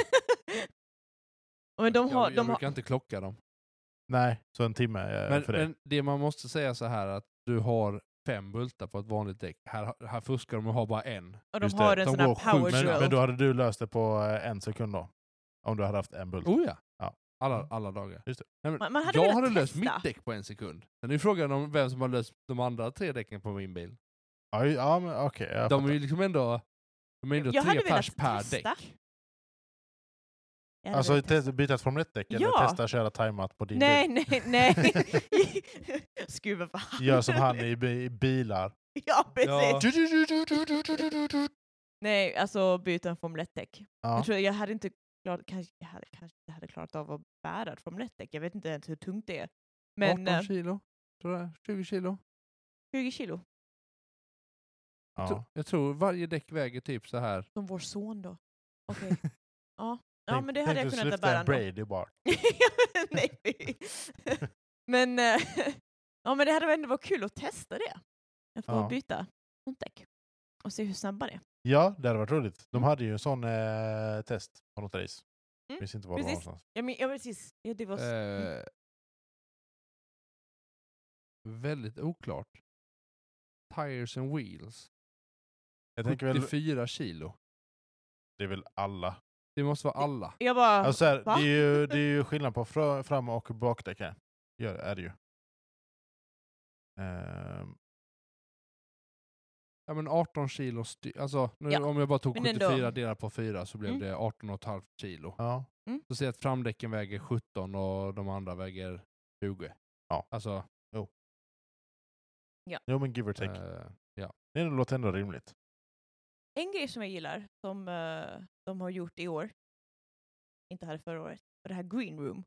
men de har,
jag, jag
de har,
brukar inte klocka dem.
Nej, så en timme eh,
Men,
för det.
men det man måste säga så här att du har fem bultar på ett vanligt däck. Här, här fuskar de och har bara en.
och de
Just det,
har en
de
sån här
går sjukt
Men,
power drill.
men då hade du löst det på eh, en sekund då? Om du hade haft en bult?
Oh ja!
Ja. Mm.
Alla, alla dagar.
Just det.
Nej, men
Man- man hade
jag
velat
hade löst
testa.
mitt däck på en sekund. Sen är ju frågan om vem som har löst de andra tre däcken på min bil.
Ja, ju- ja men okej. jag
De är
fattar.
ju liksom ändå, de är ändå
Jag
tre
hade
pers
velat
per
testa.
däck.
Jag hade
alltså
velat
te- byta ett Formel 1-däck eller
Ja.
testa att köra tajmat på din
Nej,
bil?
nej, nej. Skruva på handen.
Gör som han i, bi- i bilar.
Ja, precis.
Ja.
Du- du- du- du- du- du- du- du- du-
Nej, alltså byta en Formel 1-däck.
Ja.
Jag tror jag hade inte klarat, kanske, jag hade, kanske inte hade klarat av att bära ett Formel 1-däck. Jag vet inte ens hur tungt det är. Men
18
eh,
kilo, tror jag. 20 kilo.
20 kilo,
Jag tror-
Ja.
Jag tror varje däck väger typ så här.
som vår son då. Okej. ja. ja,
Tänk-
men det hade
tänk
jag
dig
kunnat
sluta
bära ändå.
Brady bara.
Nej, fy. men, eh, ja, men det hade ändå varit kul att testa det. Att få
Ja.
byta sånt däck. Och se hur snabba det är.
Ja, det hade varit roligt. De hade ju en sån eh, test på något race. Jag
Mm,
minns inte var det var
precis.
någonstans.
Ja, men, ja, precis. Ja, det var... s- mm.
Eh, väldigt oklart. Tires and wheels.
Jag tänker väl,
74 kilo.
det är väl alla.
Det måste vara alla.
Jag bara...
Alltså så här, det,
va?
är ju, det är ju skillnad på frö- fram och bakdäck här. Gör, är det ju. Ehm,
Ja men 18 kilo styck. Alltså nu,
Ja,
om jag bara tog
men ändå.
74 delat på 4 så blev
Mm.
det 18,5 kilo.
ja.
Så säg att framdäcken väger 17 och de andra väger 20.
Ja.
Alltså,
Jo men give or take.
eh,
Det låter ändå rimligt.
En grej som jag gillar, som eh, de har gjort i år, inte hade förra året, var det här green room.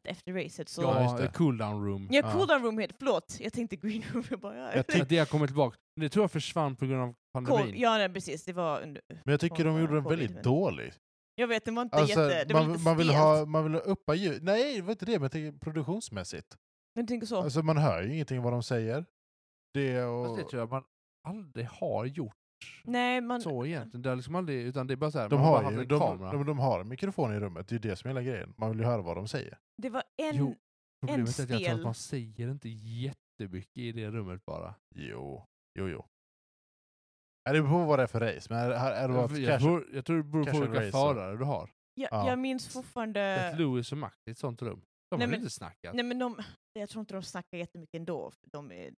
Att efter racet så...
Ja, just
ja,
det.
eh, cool down room.
Ja,
Ja.
cool down room heter förlåt, jag tänkte green room. Jag bara, ja,
Jag
Så att Det har kommit tillbaka. Men det tror jag försvann på grund av
cool.
pandemin.
ja nej, precis, det var under...
Men jag tycker de
Ja,
gjorde den
covid,
väldigt
men-
dålig.
Jag vet, det var inte
Alltså,
jätte... Det var
man,
lite
man, vill
stelt.
ha, man vill ha uppa ljud. Nej, det var inte det, men jag tänker produktionsmässigt.
Men jag tänker så.
Alltså man hör ju ingenting vad de säger. Det
Fast
och...
det tror jag man aldrig har gjort
nej, man...
så egentligen. Det har liksom aldrig, utan det är bara så här,
De
man bara
har,
hade
ju,
en
de,
kamera.
de, de har en mikrofon i rummet, det är ju det som är hela grejen. Man vill ju höra vad de säger.
Det var en...
Jo. Problemet är att jag tror
stel-
att man säger inte jättemycket i det rummet bara.
Jo, jo, jo. Är det beror på vad det är för race, men är, är, är det bara
Jag,
ett
jag,
cash-
tror, jag tror det beror på
casual
vilka
racer.
förare du har.
Jag,
Ja.
jag minns fortfarande...
Att Lewis och Max i ett sånt rum. De har
Eh. Nej,
ju
men-
inte snackat.
Nej men de... Jag tror inte de snackar jättemycket ändå. För de är...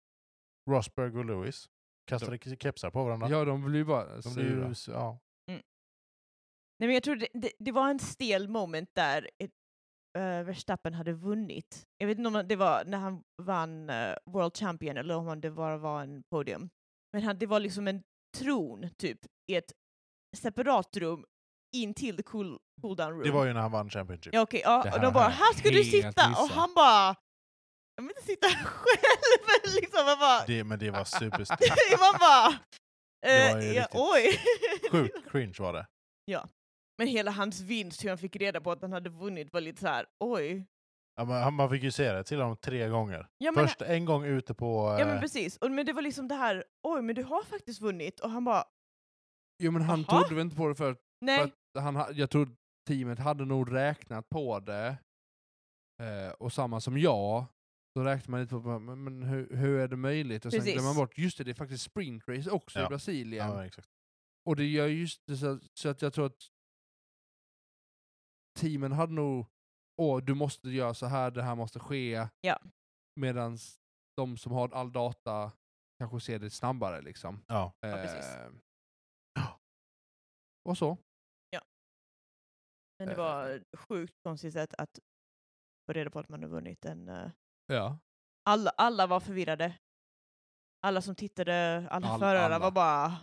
Rosberg och Lewis kastade k- kepsar på varandra.
Ja, de blir ju bara
de blir ju,
sura.
ja.
Nej men jag tror det, det, det var en stel moment där eh, eh, Verstappen hade vunnit. Jag vet inte om det var när han vann eh, World Champion eller om det bara var en podium. Men han, det var liksom en tron typ i ett separat rum in till the cool, cool down room.
Det var ju när han vann Championship.
Ja, okej,
Det
ja, och
här
de bara
har jag
“här ska du
helt
sitta” och
missat.
han bara “jag vill inte sitta här själv” liksom. Man bara,
Det, men det var superstelt.
man bara
Det var ju
eh, ja,
riktigt
“oj”.
Sjukt cringe var det.
Men hela hans vinst, hur han fick reda på att han hade vunnit, var lite så här, oj.
Ja, men han- man fick ju se det till honom tre gånger.
Ja men,
Först en gång ute på...
ja, men
eh,
precis, och, men det var liksom det här, oj men du har faktiskt vunnit, och han bara,
Jo men han
Jaha.
trodde väl inte på det för att, för
nej.
att han, ha- jag tror teamet hade nog räknat på det. Eh, och samma som jag, då räknar man lite på men, men hur, hur är det möjligt? Och sen
Precis.
glömmer man bort, just det, det är faktiskt sprintrace också i
Ja.
Brasilien.
Ja, exakt.
Och det gör just det så, så att jag tror att teamen hade nog, åh du måste göra så här, det här måste ske.
Ja.
Medan de som har all data kanske ser det snabbare liksom.
Ja.
Ja,
precis.
Och så.
Men det
Eh.
var sjukt konstigt sätt att få reda på att man har vunnit en... eh,
Ja.
Alla, alla var förvirrade. Alla som tittade, alla
All-
förare
alla.
var bara...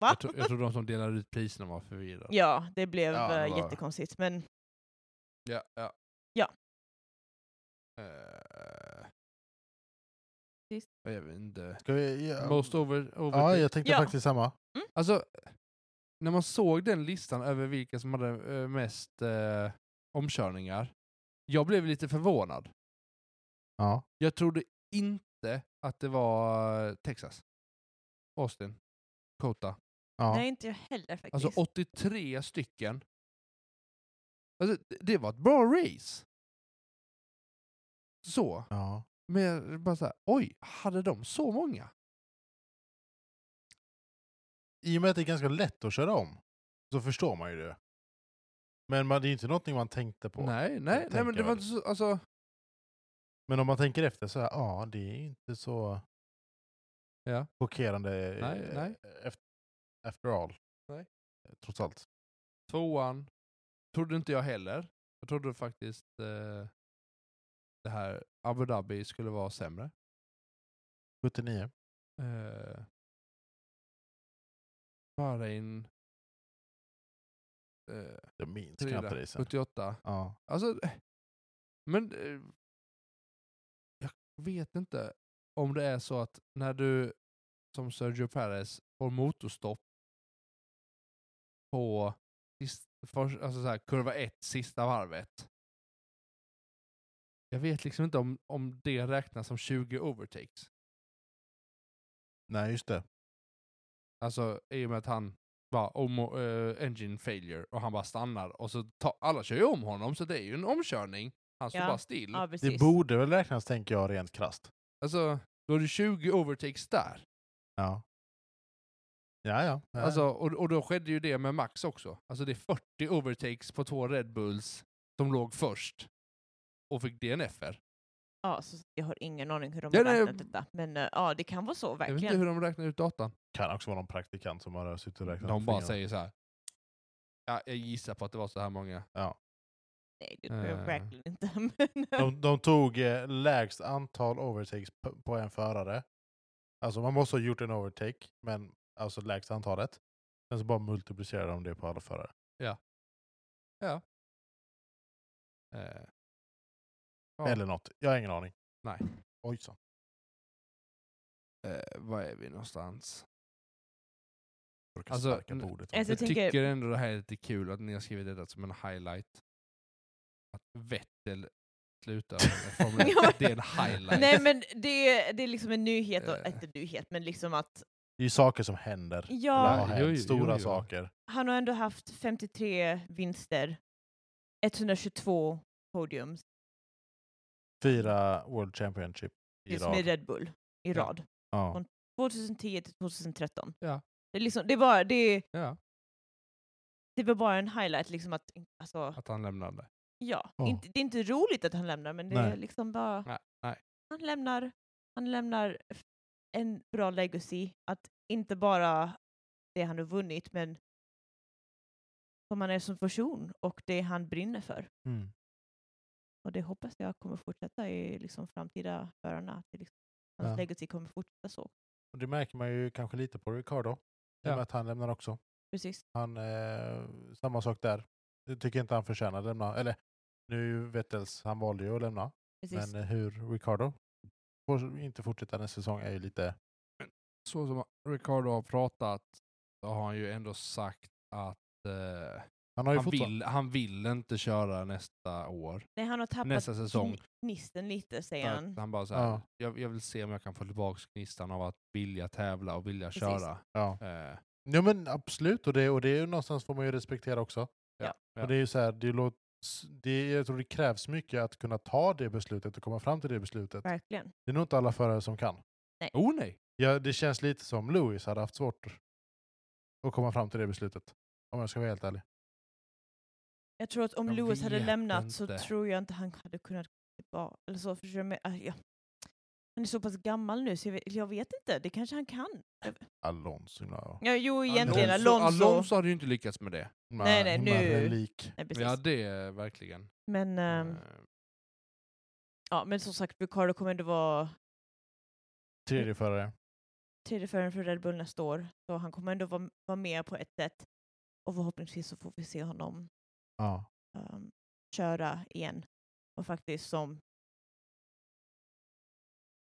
Va?
Jag, tror, jag tror de som delar ut priserna var förvirrade.
Ja, det blev
Ja, det
eh,
var-
jättekonstigt. Men
Ja. ja.
Ja.
Eh,
Sist.
jag vet inte.
Ska vi, ja,
Most over, over
ja, jag tänkte
Ja.
faktiskt samma.
Alltså, när man såg den listan över vilka som hade eh, mest eh, omkörningar, jag blev lite förvånad.
Ja.
Jag trodde inte att det var eh, Texas, Austin, Kota.
Ja.
nej, inte jag heller faktiskt.
Alltså 83 stycken. Alltså, det- det var ett bra race. Så.
ja.
Men jag bara såhär, oj, hade de så många?
I och med att det är ganska lätt att köra om så förstår man ju det. Men man, det är ju inte någonting man tänkte på.
Nej, nej, nej
tänker
men det var
väl.
inte så, alltså,
Men om man tänker efter så här, ja det är ju inte så
Ja.
chockerande
Nej,
eh,
nej.
Efter, after all.
Nej.
Eh, Trots allt.
Tvåan trodde inte jag heller. Jag trodde faktiskt eh, det här Abu Dhabi skulle vara sämre.
79.
Eh, Bahrain eh,
Jag minns
trea,
knappt racen.
78.
Ja.
Alltså, eh, men eh, jag vet inte om det är så att när du som Sergio Perez får motorstopp på sist, för, alltså så här, kurva ett, sista varvet. Jag vet liksom inte om, om det räknas som 20 overtakes.
Nej just det.
Alltså i och med att han bara om, eh, engine failure och han bara stannar och så tar, alla kör ju om honom så det är ju en omkörning. Han står
Ja.
bara still.
ja,
Det
precis.
borde väl räknas tänker jag rent krasst.
Alltså, då är det 20 overtakes där.
Ja. Ja ja. ja.
Alltså, och, och då skedde ju det med Max också. Alltså det är 40 overtakes på två Red Bulls som låg först och fick DNF-er.
Ja, så jag har ingen aning hur de
Ja,
har
nej,
räknat detta. Men eh, ja, det kan vara så
Jag vet inte hur
verkligen.
de räknar ut datan.
kan också vara någon praktikant som har suttit och räknat
De
på
bara
fingrarna.
säger så här. Ja, jag gissar på att det var så här många.
Nej, det tror jag
Eh.
verkligen inte. Men,
De, de tog eh, lägst antal overtakes p- på en förare. Alltså man måste ha gjort en overtake, men alltså lägst antalet. Sen så bara multiplicerade de det på alla förare.
Eh, Ja.
Eller något. Jag har ingen aning.
Nej.
Oj så.
eh, var är vi någonstans?
Jag
Alltså,
alltså, sparka på
n-
ordet.
Alltså,
jag
jag tänker-
tycker ändå det här är lite kul att ni har skrivit detta som en highlight. Att Vettel slutar med Formel 1. Det är en highlight.
nej, men det, det är liksom en nyhet, och,
Eh.
inte nyhet, men liksom att
Det är ju saker som händer.
Ja.
Eller har hänt.
Jo, jo,
Stora
jo, jo.
saker.
han har ändå haft 53 vinster, 122 podiums,
Fyra World Championship i
just med
rad.
Red Bull i
Ja.
rad.
Ja.
2010 till 2013.
Ja.
Det, är liksom, det, var, det,
Ja,
det var bara en highlight, liksom att, alltså,
att han lämnade.
ja,
Ja.
inte, det är inte roligt att han lämnar, men det är
Nej.
liksom bara,
Nej, nej.
han lämnar, han lämnar f- en bra legacy, att inte bara det han har vunnit, men som han är som person och det han brinner för.
Mm.
Och det hoppas jag kommer fortsätta i liksom, framtida förarna. Att det liksom, hans
Ja.
legacy kommer fortsätta så.
Och det märker man ju kanske lite på Ricardo. I och
Ja.
med att han lämnar också.
Precis.
Han, eh, samma sak där. Jag tycker inte han förtjänar att lämna. Eller nu är ju Vettels, han valde ju att lämna.
precis.
Men eh, hur Ricardo får inte fortsätta nästa säsong är ju lite...
Så som Ricardo har pratat så har han ju ändå sagt att eh,
Han har ju
han,
fortfarande...
vill, han vill inte köra nästa år.
Nej, han har tappat
Nästa säsong.
gni- gnisten lite, säger
För
han.
att Han bara så här,
Ja.
jag, jag vill se om jag kan få tillbaka gnistan av att vilja tävla och vilja
Precis.
köra.
Ja.
Eh,
Ja men absolut, och det, och det är ju någonstans får man ju respektera också.
Ja.
Och det är ju så här, det låt, det, jag tror det krävs mycket att kunna ta det beslutet och komma fram till det beslutet.
Verkligen.
Det är nog inte alla förare som kan.
Oh nej!
Ja, det känns lite som Lewis hade haft svårt att komma fram till det beslutet. Om jag ska vara helt ärlig.
Jag tror att om
Jag
Lewis hade
vet
lämnat
inte.
så tror jag inte han hade kunnat gå tillbaka. Eller så, förstår du? Men, ah, ja. Han är så pass gammal nu så jag vet, jag vet inte, det kanske han kan.
Alonso. No.
Ja, jo, egentligen
Alonso-
Alonso.
Alonso hade ju inte lyckats med det.
Nej, nej,
Himla
nu-
Relik.
Nej, precis.
Ja, det är verkligen.
Men, ehm,
Eh,
ja, men som sagt, Ricardo kommer ändå vara
Tredje förare.
tredje föraren för Red Bull nästa år, så han kommer ändå vara, vara med på ett sätt. Och förhoppningsvis så får vi se honom
Ja.
ehm, köra igen. Och faktiskt som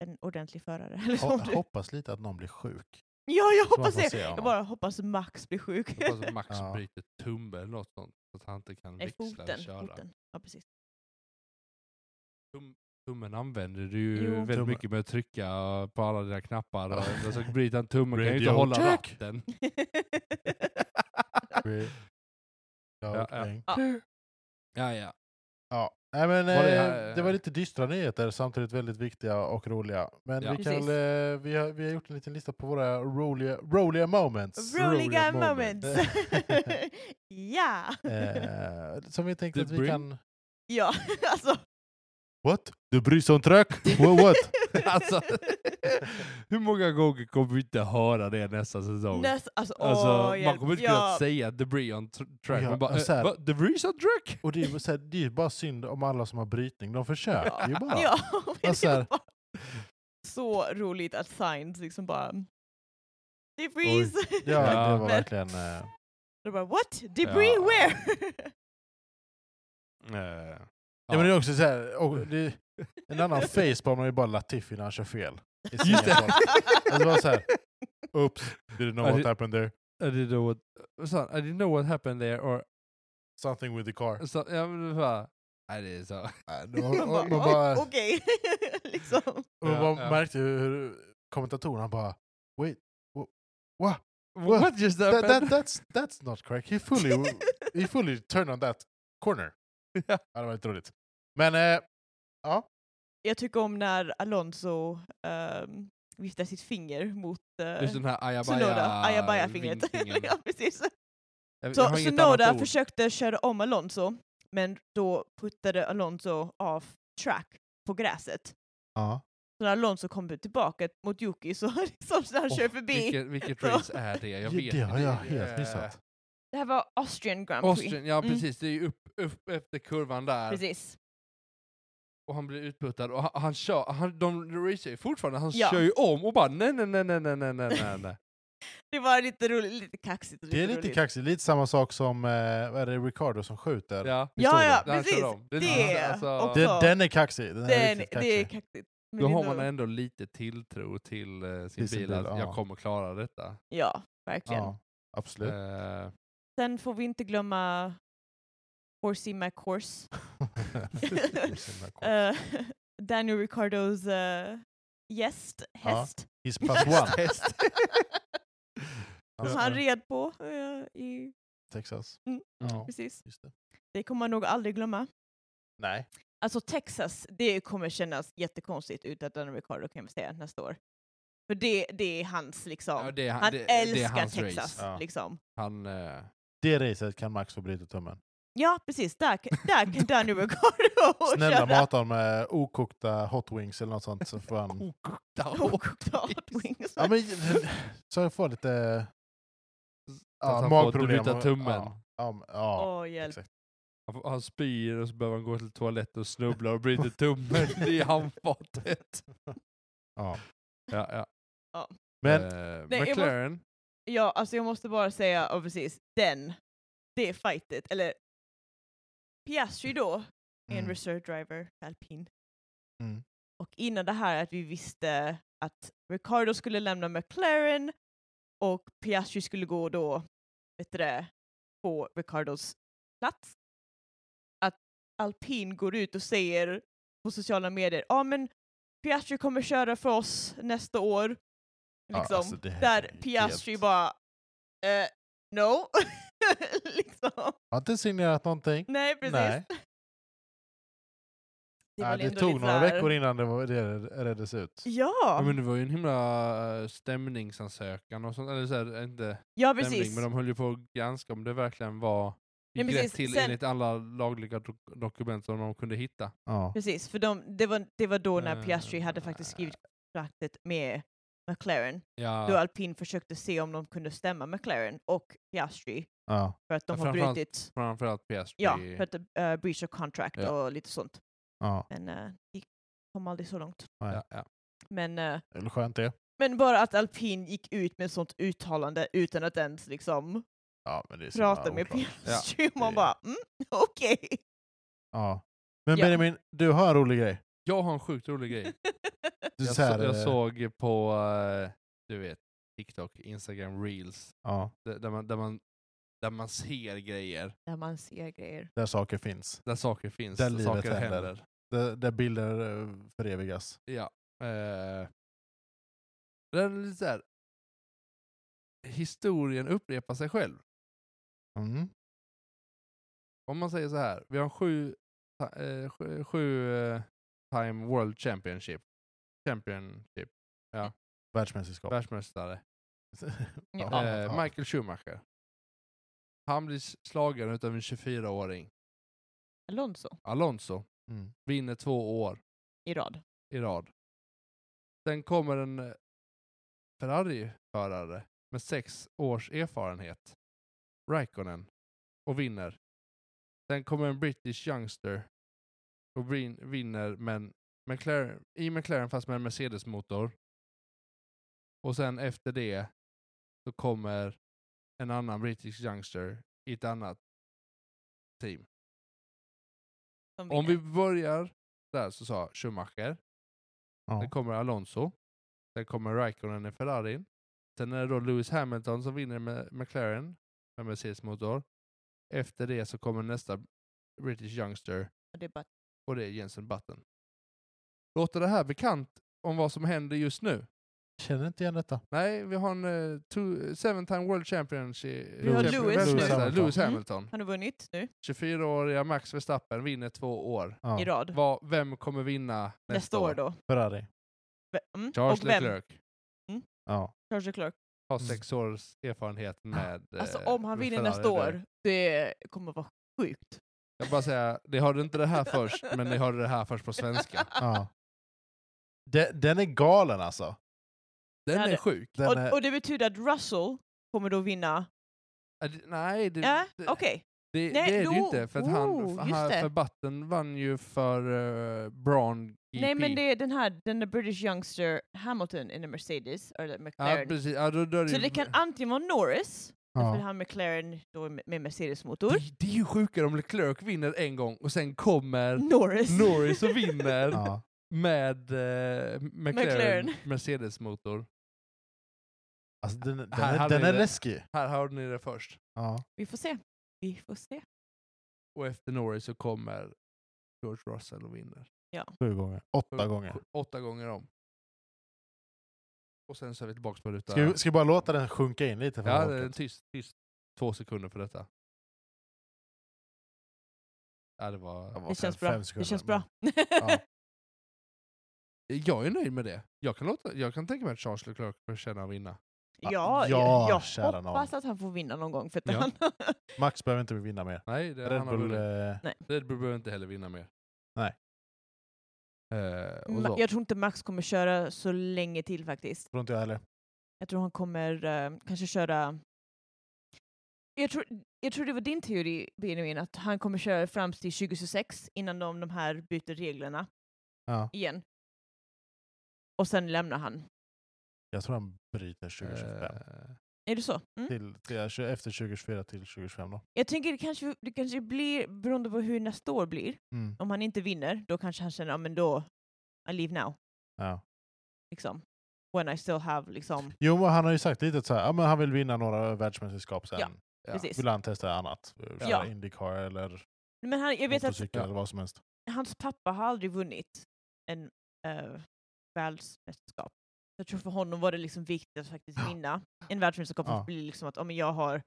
en ordentlig förare. Eller
Ho-
som du.
hoppas lite att någon blir sjuk.
Ja, jag
Så man
hoppas
får
det!
se honom.
Jag bara hoppas Max blir sjuk.
Jag hoppas att Max
Ja.
bryter tumme eller något sånt. Så att han inte kan
Nej,
växla eller
foten.
köra.
foten. Ja, precis.
Tummen använder du ju
Jo.
väldigt
Tummen.
mycket med att trycka på alla dina knappar. Och,
Ja.
alltså, bryter han tummen kan ju inte
Radio
hålla
check.
ratten.
Vi- ja,
Ja,
okej.
ja.
Ja, ja.
ja. Nej, men,
Var det
eh,
här-
det var lite dystra nyheter, samtidigt väldigt viktiga och roliga. Men
Ja.
vi, kan,
Precis.
väl, eh, vi, har, vi har gjort en liten lista på våra roliga, roliga moments.
Roliga
moment.
moments! ja!
eh, som vi tänkte
The
att vi
Bring.
kan...
Ja, alltså.
What? Du bryr dig om trök? What? what?
Alltså, hur många gånger kommer vi inte höra det nästa säsong?
Näst, alltså,
Alltså,
åh,
man
hjälp.
kommer inte kunna
ja.
säga debris on tr- track.
Ja,
man bara,
och så här-
eh, va? debris on track?
Och det är, ju så här, det är ju bara synd om alla som har brytning. De försöker ju bara.
Ja, men
Alltså
det
här-
var bara så roligt att Signs liksom bara... Debris!
Ja, det
Ja.
var verkligen... Eh,
Då bara what? Debris
Ja.
where?
Eh,
Ja. men det är också så här, och det, en annan facepalm är ju bara Latifi när han kör fel. I sin
Just det.
facepalm. Alltså bara så här, oops, didn't know
Ja,
what
det-
happened there.
I didn't know what, vad sa han? I didn't know what happened there or...
Something with the car.
Så, ja, men det var... Nej, det är så.
Och, och, och,
Alltså, Man
man
bara,
bara,
"Oj, Okej, liksom.
och man
Ja, ja.
märkte ju hur kommentatorerna bara, wait, wha- wha-
What, just
That,
happened?
that, that's, that's not correct. He fully, he fully turned on that corner.
Ja.
Ja, det var lite roligt. Men eh,
Jag tycker om när Alonso ehm, viftar sitt finger mot uh,
Just den här ayabaya
Sunoda, ayabaya-fingret.
vinkningen.
ja, precis.
Jag- jag
Så
har inget annat
Sunoda
ord.
försökte köra om Alonso, men då puttade Alonso av track på gräset.
ja.
Så när Alonso kom tillbaka mot Yuki så liksom så han
Åh,
kör förbi.
Vilket, vilket
Så.
race är det? Jag
Ja,
vet
det
inte.
har jag
är-
helt missat.
Det här var Austrian Grand Prix.
Austrian, ja
Mm.
precis. Det är ju upp, upp efter kurvan där.
Precis.
Och han blir utputtad och han, han kör, han, de racer ju fortfarande, han
Ja.
kör ju om och bara nej, nej, nej, nej, nej, nej, nej, nej, nej.
Det var lite roligt, lite kaxigt. och
Det är lite
roligt.
kaxigt, lite samma sak som eh, vad är det Ricardo som skjuter.
Ja.
Ja, ja,
Där han kör
precis.
om. Det är
Det
lite- alltså-
också.
Den, den är kaxig. Den är
Den,
riktigt
det är
kaxig.
kaxigt. Men
Då
det är
har
ändå-
man ändå lite tilltro till eh, sin
Till sin
bil,
bil,
att
ja.
jag kommer klara detta.
Ja, verkligen.
Ja, absolut.
Eh,
Sen får vi inte glömma Horsey McHorse. Eh, Daniel Ricardos eh, gäst, häst,
He's plus one.
Häst.
som han red på. eh, i,
Texas.
Mm.
Ja,
precis.
just det.
Det kommer man nog aldrig glömma.
Nej.
Alltså Texas, det kommer kännas jättekonstigt utan Daniel Ricardo kan vi säga nästa år. För det, det är hans liksom.
ja, det är, han-
han
det, det är
älskar
hans
Texas
Race.
Ja.
liksom.
Han, eh,
Det racet kan Max få bryta tummen.
Ja, precis. Där, kan- där kan Daniel Ricardo
Snälla
köra.
mata honom med okokta hot wings eller något sånt så får han...
kokta
Och kokta hot wings.
Ja, men, så jag får lite...
att
Ja,
han får
magproblem.
bryta
och-
tummen.
Ja, ja, men- ja,
Åh, hjälp.
exakt.
Han, får- han spyr och så behöver han gå till toaletten och snubbla och bryter tummen i handfatet.
Ja.
Ja, ja.
Men
eh,
jag måste-
McLaren,
Ja, alltså jag måste bara säga, ja precis, den, det fightet, eller Piastri då, är en
mm,
reserve driver, för alpin.
Mm.
Och innan det här att vi visste att Ricardo skulle lämna McLaren och Piastri skulle gå då, vet du det, på Ricardos plats. Att alpin går ut och säger på sociala medier, ja men Piastri kommer köra för oss nästa år.
Ja,
Liksom,
alltså, det här är
där
ju
Piastri
helt-
bara eh, no. liksom.
Har inte signerat någonting.
Nej, Mm, precis.
Nej.
Det,
Det,
var
Nej, det
ändå
tog
lite
några
så här-
veckor innan det, var, det reddes ut.
Ja,
Ja, men det var ju en himla eh, stämningsansökan och sånt. Eller så här, inte
ja
stämning,
precis.
men de höll ju på att granska om det verkligen var
Nej,
gick rätt
precis.
till
Sen-
enligt alla lagliga do- dokument som de kunde hitta.
Ja.
Precis, för de, det, var, det var då när Piastri hade
Eh,
faktiskt skrivit kontraktet med McLaren.
Ja,
Då Alpin försökte se om de kunde stämma McLaren och Piastri
Ja.
för att de
Ja,
har
framförallt-
brutit
framförallt PSP.
ja, för att, eh, breach of contract
Ja.
och lite sånt.
ja.
Men eh, det kom aldrig så långt.
Nej.
ja, ja.
Men, eh,
Det är väl skönt det.
men bara att Alpin gick ut med ett sånt uttalande utan att ens liksom
Ja, men det är så
prata
jävla
med
oklart.
Piastri. och Man
det-
bara mm, okej.
Ja. Men
Ja.
Benjamin, du har en rolig grej.
Jag har en sjukt rolig grej.
Du
Jag,
så här,
så, jag
eh,
såg på, eh, du vet, TikTok, Instagram reels,
Ja,
där där man, där man, där man ser grejer,
Där man ser grejer.
där saker finns.
där saker finns,
Där
där,
livet
saker
händer.
händer.
Där, där bilder eh, förevigas.
Ja. Eh, det är lite så här. historien upprepar sig själv.
Mm.
Om man säger så här, vi har en sju, ta- eh, sju, sju eh, time world championship, championship,
Världsmästerskap.
världsmästare.
Ja.
Eh, Michael Schumacher. Han blir slagen utav en 24-åring.
Alonso
Alonso
Mm.
vinner två år
i rad.
i rad. Sen kommer en eh, Ferrari-förare med sex års erfarenhet, Raikkonen, och vinner. Sen kommer en British Youngster och vin- vinner men McLaren, i McLaren fast med en Mercedes-motor. Och sen efter det så kommer en annan British Youngster i ett annat team.
som
Om vi
vinner.
börjar där så sa jag Schumacher,
Ja.
sen kommer Alonso, sen kommer Raikkonen i Ferrarin, sen är det då Lewis Hamilton som vinner med McLaren med Mercedes-motor. Efter det så kommer nästa British Youngster
Och det är bara
och det är Jensen Button. Låter det här bekant om vad som händer just nu?
Känner inte igen detta.
Nej, vi har en uh, two, seven time world championship.
Vi har
champion-
Lewis
nu.
världsmästare,
Hamilton.
Lewis
Mm.
Hamilton.
Han har vunnit nu
24-åriga Max Verstappen vinner två år.
Ja.
i rad.
Vad- vem kommer vinna nästa,
Nästa år då.
Ferrari.
Ve- Mm.
Charles
och vem?
Leclerc
Ja.
Charles Leclerc.
har
Mm.
sex års erfarenhet med
Alltså
eh,
om han
med
vinner
Ferrari
nästa
där.
år, det kommer vara sjukt.
Jag bara säga, ni hörde inte det här först, men ni hörde det här först på svenska.
ja. De, den är galen alltså.
Den
Ja,
är
det-
sjuk.
Den är,
Och, och det betyder att Russell kommer då vinna?
Äh, det- Nej, det,
Ja,
det, E
okej.
det,
Nej,
det är det ju
jo,
inte. För att han,
oh,
han
just det.
för Button vann ju för uh, Braun GP.
Nej men det är den här, den där British Youngster Hamilton in a Mercedes, eller
ja,
McLaren.
precis. Ja, då, då är
så
ju-
det kan antingen vara Norris, för
ja.
han McLaren då med med Mercedes-motor.
det, det är ju sjukare om Leclerc vinner en gång och sen kommer
Norris.
Norris och vinner
Ja.
med eh, McLaren,
McLaren.
Mercedes-motor.
Alltså, den, den,
Här
är,
hade
den
vi
är
det.
läskig.
Här hörde ni det först.
Ja.
Vi får se. Vi får se.
Och efter Norris så kommer George Russell och vinner.
Sju gånger. Åtta
Sju-
gånger.
Åtta gånger om. Och sen så är vi tillbaka på ruta...
Ska vi, ska vi bara låta den sjunka in lite? För
ja, det är
folket?
tyst, tyst. Två sekunder för detta. Ja, det var...
var
Det
fem-
känns bra.
fem
Det
sekunder,
känns bra.
Ja.
Jag är nöjd med det. Jag kan, låta, jag kan tänka mig att Charles Leclerc förtjänar att vinna.
Ja,
Ja,
jag, jag
kära nån.
hoppas att han får vinna någon gång för att
Ja.
han...
men Max behöver inte vinna mer.
Nej, det,
Red
han har
Bull,
vunnit.
eh,
Red Bull behöver inte heller vinna mer.
Nej.
Eh, och
Ma-
så.
Jag tror inte Max kommer köra så länge till faktiskt.
tror inte jag heller.
Jag tror han kommer eh, kanske köra... Jag tror, jag tror det var din teori, Benjamin, att han kommer köra fram till 2026 innan de, de här byter reglerna
Ja.
igen. Och sen lämnar han.
Jag tror han bryter 2025.
Eh,
Är det så?
Typ.
Mm.
Till, till, eh, efter 2024 till 2025 då.
Jag tänker det kanske, det kanske blir, beroende på hur nästa år blir,
Mm.
om han inte vinner, då kanske han känner ja men då, I leave now.
Ja.
Liksom. When I still have, liksom.
Jo, men han har ju sagt lite så här, ja, men han vill vinna några världsmästerskap sen.
Ja.
Ja.
Precis.
Vill han testa annat? Eh, Köra
Ja.
Indycar eller
Men han, jag vet att
motorcykel eller vad som helst.
hans pappa har aldrig vunnit en eh, världsmästerskap. Jag tror för honom var det liksom viktigt att faktiskt
Ja.
vinna en världsmästerskap.
Ja.
Det blir liksom att, ja men jag har...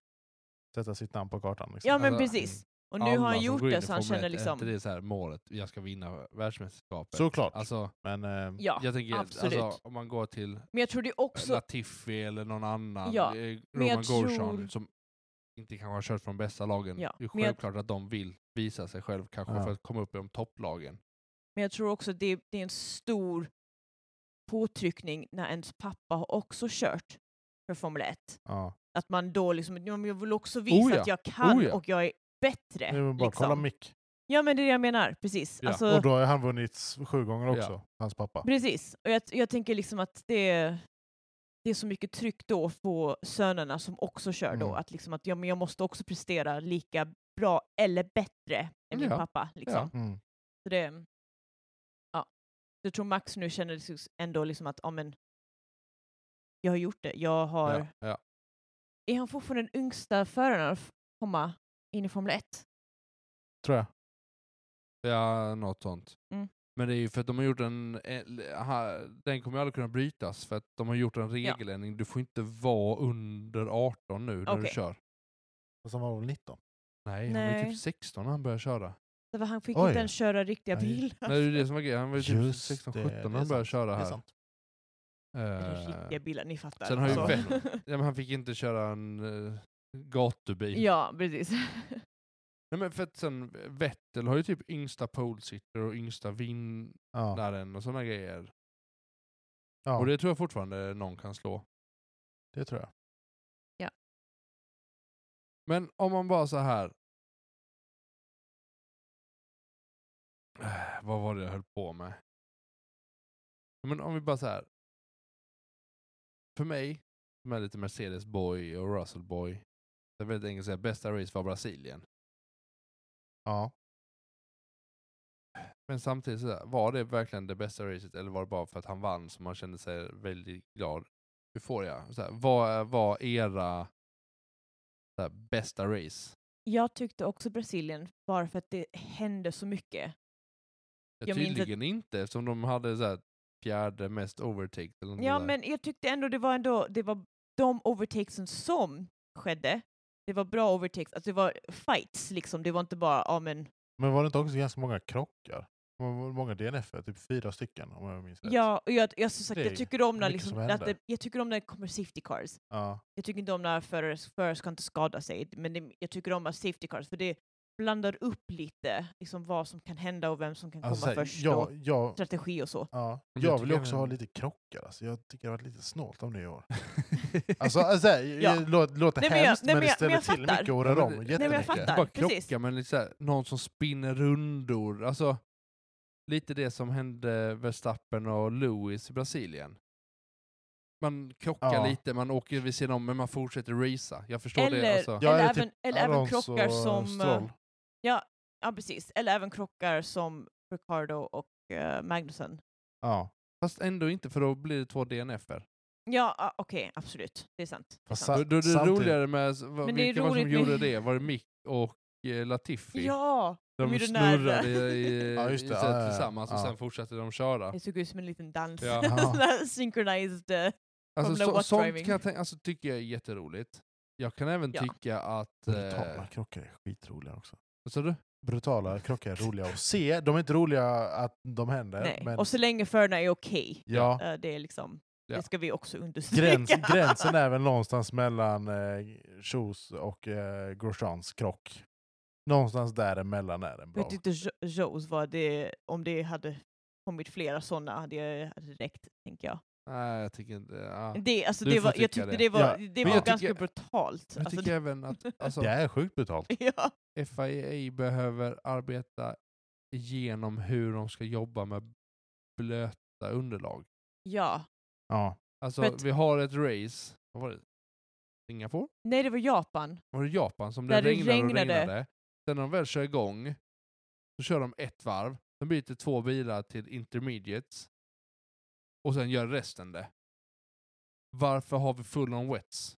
Sätta sitt namn på kartan. Liksom.
Ja men
Alltså,
precis. Och nu har han gjort det så han känner
Inte
liksom...
det är så här målet, jag ska vinna världsmästerskapet.
Såklart.
Alltså,
men eh,
Ja,
jag tänker,
absolut.
alltså, om man går till
men jag tror det är också...
Latifi eller någon annan,
Ja,
eh,
men jag
Roman Grosjean,
tror-
som inte kanske har kört från bästa lagen.
Ja,
Det är
men jag-
självklart att de vill visa sig själv kanske
Ja.
för att komma upp i de topplagen.
Men jag tror också det, det är en stor påtryckning när ens pappa har också kört för Formel 1.
ja.
Att man då liksom, ja, men jag vill också visa
Oh ja,
att jag kan
oh ja.
och jag är bättre.
Nu är det bara
liksom.
kolla Mick.
Ja men det är det jag menar, precis.
Ja.
Alltså,
Och då har han vunnit s- sju gånger också, hans pappa.
Precis, och jag, jag tänker liksom att det är, det är så mycket tryck då på sönerna som också kör då,
Mm.
att liksom att ja, men jag måste också prestera lika bra eller bättre än min
Ja,
pappa. Liksom.
Mm.
Så det, ja. Jag tror Max nu känner sig ändå liksom att ja, men, jag har gjort det, jag har...
Ja, ja.
Är han fortfarande den yngsta föraren att f- komma in i Formel 1?
Tror jag.
ja, något sånt.
Mm.
Men det är ju för att de har gjort en, en- ha- den kommer ju aldrig kunna brytas för att de har gjort en
Ja.
regeländring. Du får inte vara under 18 nu när du
Okej.
kör.
Fast han var väl 19?
Nej, han var ju
Nej.
typ 16 när han började köra.
Så Han fick
Oj.
inte ens köra riktiga
Nej.
bilar.
Nej, det är ju det som var grejen. Han var ju typ
Just
16-17
det,
när han
det är
började
sant.
köra
Det är
här.
sant.
Eh,
Riktiga bilar, ni fattar.
sen har ju
Så.
Vettel-
ja, men han fick inte köra en eh, gatubil.
Ja, precis.
Nej, men för att sen, Vettel har ju typ yngsta polesitter och yngsta vinnaren
Ja.
och sådana grejer.
Ja,
Och
det...
det tror jag fortfarande någon kan slå.
tror jag.
Men om man bara så här. Eh, Vad var det jag höll på med? Ja, Men om vi bara så här. För mig, som är lite Mercedes-boy och Russell-boy. Det är väldigt enkelt att säga bästa race var Brasilien.
Ja.
Men samtidigt, så där, var det verkligen det bästa racet eller var det bara för att han vann som man kände sig väldigt glad? Euphoria. Så här, vad var era så här, bästa race?
Jag tyckte också Brasilien, bara för att det hände så mycket.
Ja,
Jag minns att-
tydligen inte eftersom de hade så här, fjärde mest overtake. Eller något
Ja,
där.
men jag tyckte ändå det var ändå, det var de overtakesen som skedde. Det var bra overtakes, alltså det var fights liksom, det var inte bara, ja men,
Men var det inte också ganska många krockar? Det var Många DNF, typ fyra stycken om jag minns rätt.
ja, och jag, jag, som sagt,
Det är
jag tycker om när
mycket
liksom,
som
att
händer.
det, jag tycker om när det kommer safety cars.
Ja.
Jag tycker inte om när förare förare ska inte skada sig, men det, jag tycker om att safety cars, för det blandar upp lite liksom vad som kan hända och vem som kan
Alltså,
komma
så här,
först
jag,
och
jag,
strategi och så.
ja.
jag
jag vill
tycker
ju också ha
även-
lite krockar. Alltså. Jag tycker det har varit lite snålt om det i år. Alltså, alltså, här,
Ja.
det låter- låter
Nej, men jag-
hemskt
nej,
men,
men
det
jag-
ställer
men jag
till
fattar.
mycket och
Ja,
rör
men
om
det-
jättemycket.
Nej, men jag
Inte
fattar.
bara
precis.
krocka, men lite så här, någon som spinner rundor. Alltså, lite det som hände Verstappen och Lewis i Brasilien. Man krockar
Ja.
lite, man åker vid sidan om, men man fortsätter racea. Jag förstår det.
Eller,
Alltså.
Ja,
eller,
eller typ
även, eller även
Alonso
krockar
och
som... eh,
Stroll.
Ja, precis. Eller även krockar som Ricardo och eh, Magnussen.
Ja.
Fast ändå inte, för då blir det två DNFer.
Ja, ah, okej, absolut. Det är sant. Det är
Fast
sant.
Då, då är det
Samtidigt-
roligare med s- vad-
Men det är
vilka var det som
roligt med-
gjorde det. Var det Mick och eh, Latifi?
Ja! de
de
gjorde den där-
snurrade i, i,
Ja, just
i
det.
sig
Ja, ja, ja.
tillsammans och
Ja.
sen fortsatte de köra.
Det såg ut som en liten dans.
Ja.
Sån där synchronized... eh,
Alltså,
Formula
så,
One
sånt
driving.
kan jag tänka, alltså, tycker jag är jätteroligt. Jag kan även
Ja.
tycka att... Eh,
Brutala krockar är skitroliga också.
vad sa du?
Brutala krockar är roliga att se. De är inte roliga att de händer.
nej.
Men
Och så länge förarna är okej.
ja,
eh, det är liksom...
Ja.
Det ska vi också understryka.
gräns, gränsen är väl någonstans mellan eh, Chos och eh, Grosjeans krock. Någonstans däremellan är den
Jag
bra.
vet inte Jo- Joes vad det... Om det hade kommit flera sådana hade hade räckt, tänker jag.
Nej, jag tycker inte... Ja.
Det, alltså,
Du
det
får
var, jag
tycka
tyckte
det.
det var,
Ja.
det
Men
var
jag
ganska
tycker-
brutalt.
Jag
Alltså,
tycker även att alltså,
Det är sjukt brutalt.
ja.
FIA behöver arbeta igenom hur de ska jobba med blöta underlag.
ja.
Ja.
Alltså,
För att-
vi har ett race... Vad var det? Singapore?
Nej, det var Japan.
Var det Japan som
Där
det
det
regnade, och
regnade.
regnade? Sen när de väl kör igång så kör de ett varv, sen byter två bilar till intermediates och sen gör resten det. Varför har vi full on wets?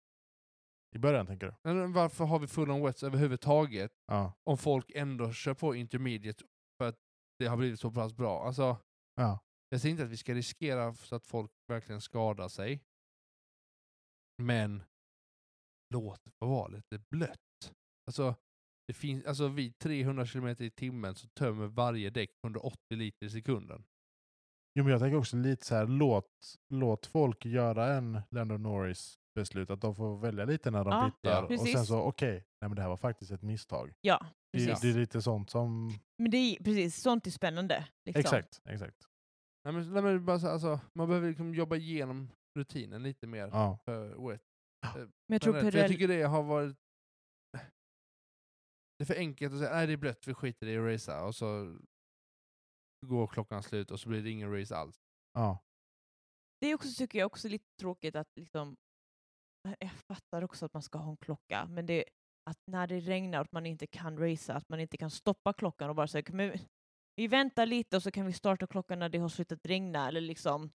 I början tänker du?
Nej, men Varför har vi full on wets överhuvudtaget
Ja.
om folk ändå kör på intermediate för att det har blivit så pass bra? Alltså,
ja.
Jag säger inte att vi ska riskera så att folk verkligen skadar sig. Men låt det vara lite blött. Alltså, det finns, alltså vid 300 km i timmen så tömmer varje däck 180 liter i sekunden.
Jo, men jag tänker också lite så här, låt, låt folk göra en Lando Norris beslut, att de får välja lite när de
Ja,
tittar. och
precis.
sen så, okej, nej men det här var faktiskt ett misstag.
Ja,
Det, är-
precis.
det är lite sånt som...
Men det är precis, sånt är spännande. Liksom.
Exakt, exakt.
Nej, men, nej, men det är bara så, här, alltså, man behöver liksom jobba igenom rutinen lite mer
Ja.
för O1.
Men jag tror
Nej, nej, för jag
Pirelli...
tycker det har varit... Det är för enkelt att säga nej det är blött, vi skiter i att racea och så går klockan slut och så blir det ingen race alls.
ja.
Det är också, tycker jag också lite tråkigt att liksom... Jag fattar också att man ska ha en klocka, men det... Att när det regnar och att man inte kan racea, att man inte kan stoppa klockan och bara säga men vi väntar lite och så kan vi starta klockan när det har slutat regna eller liksom...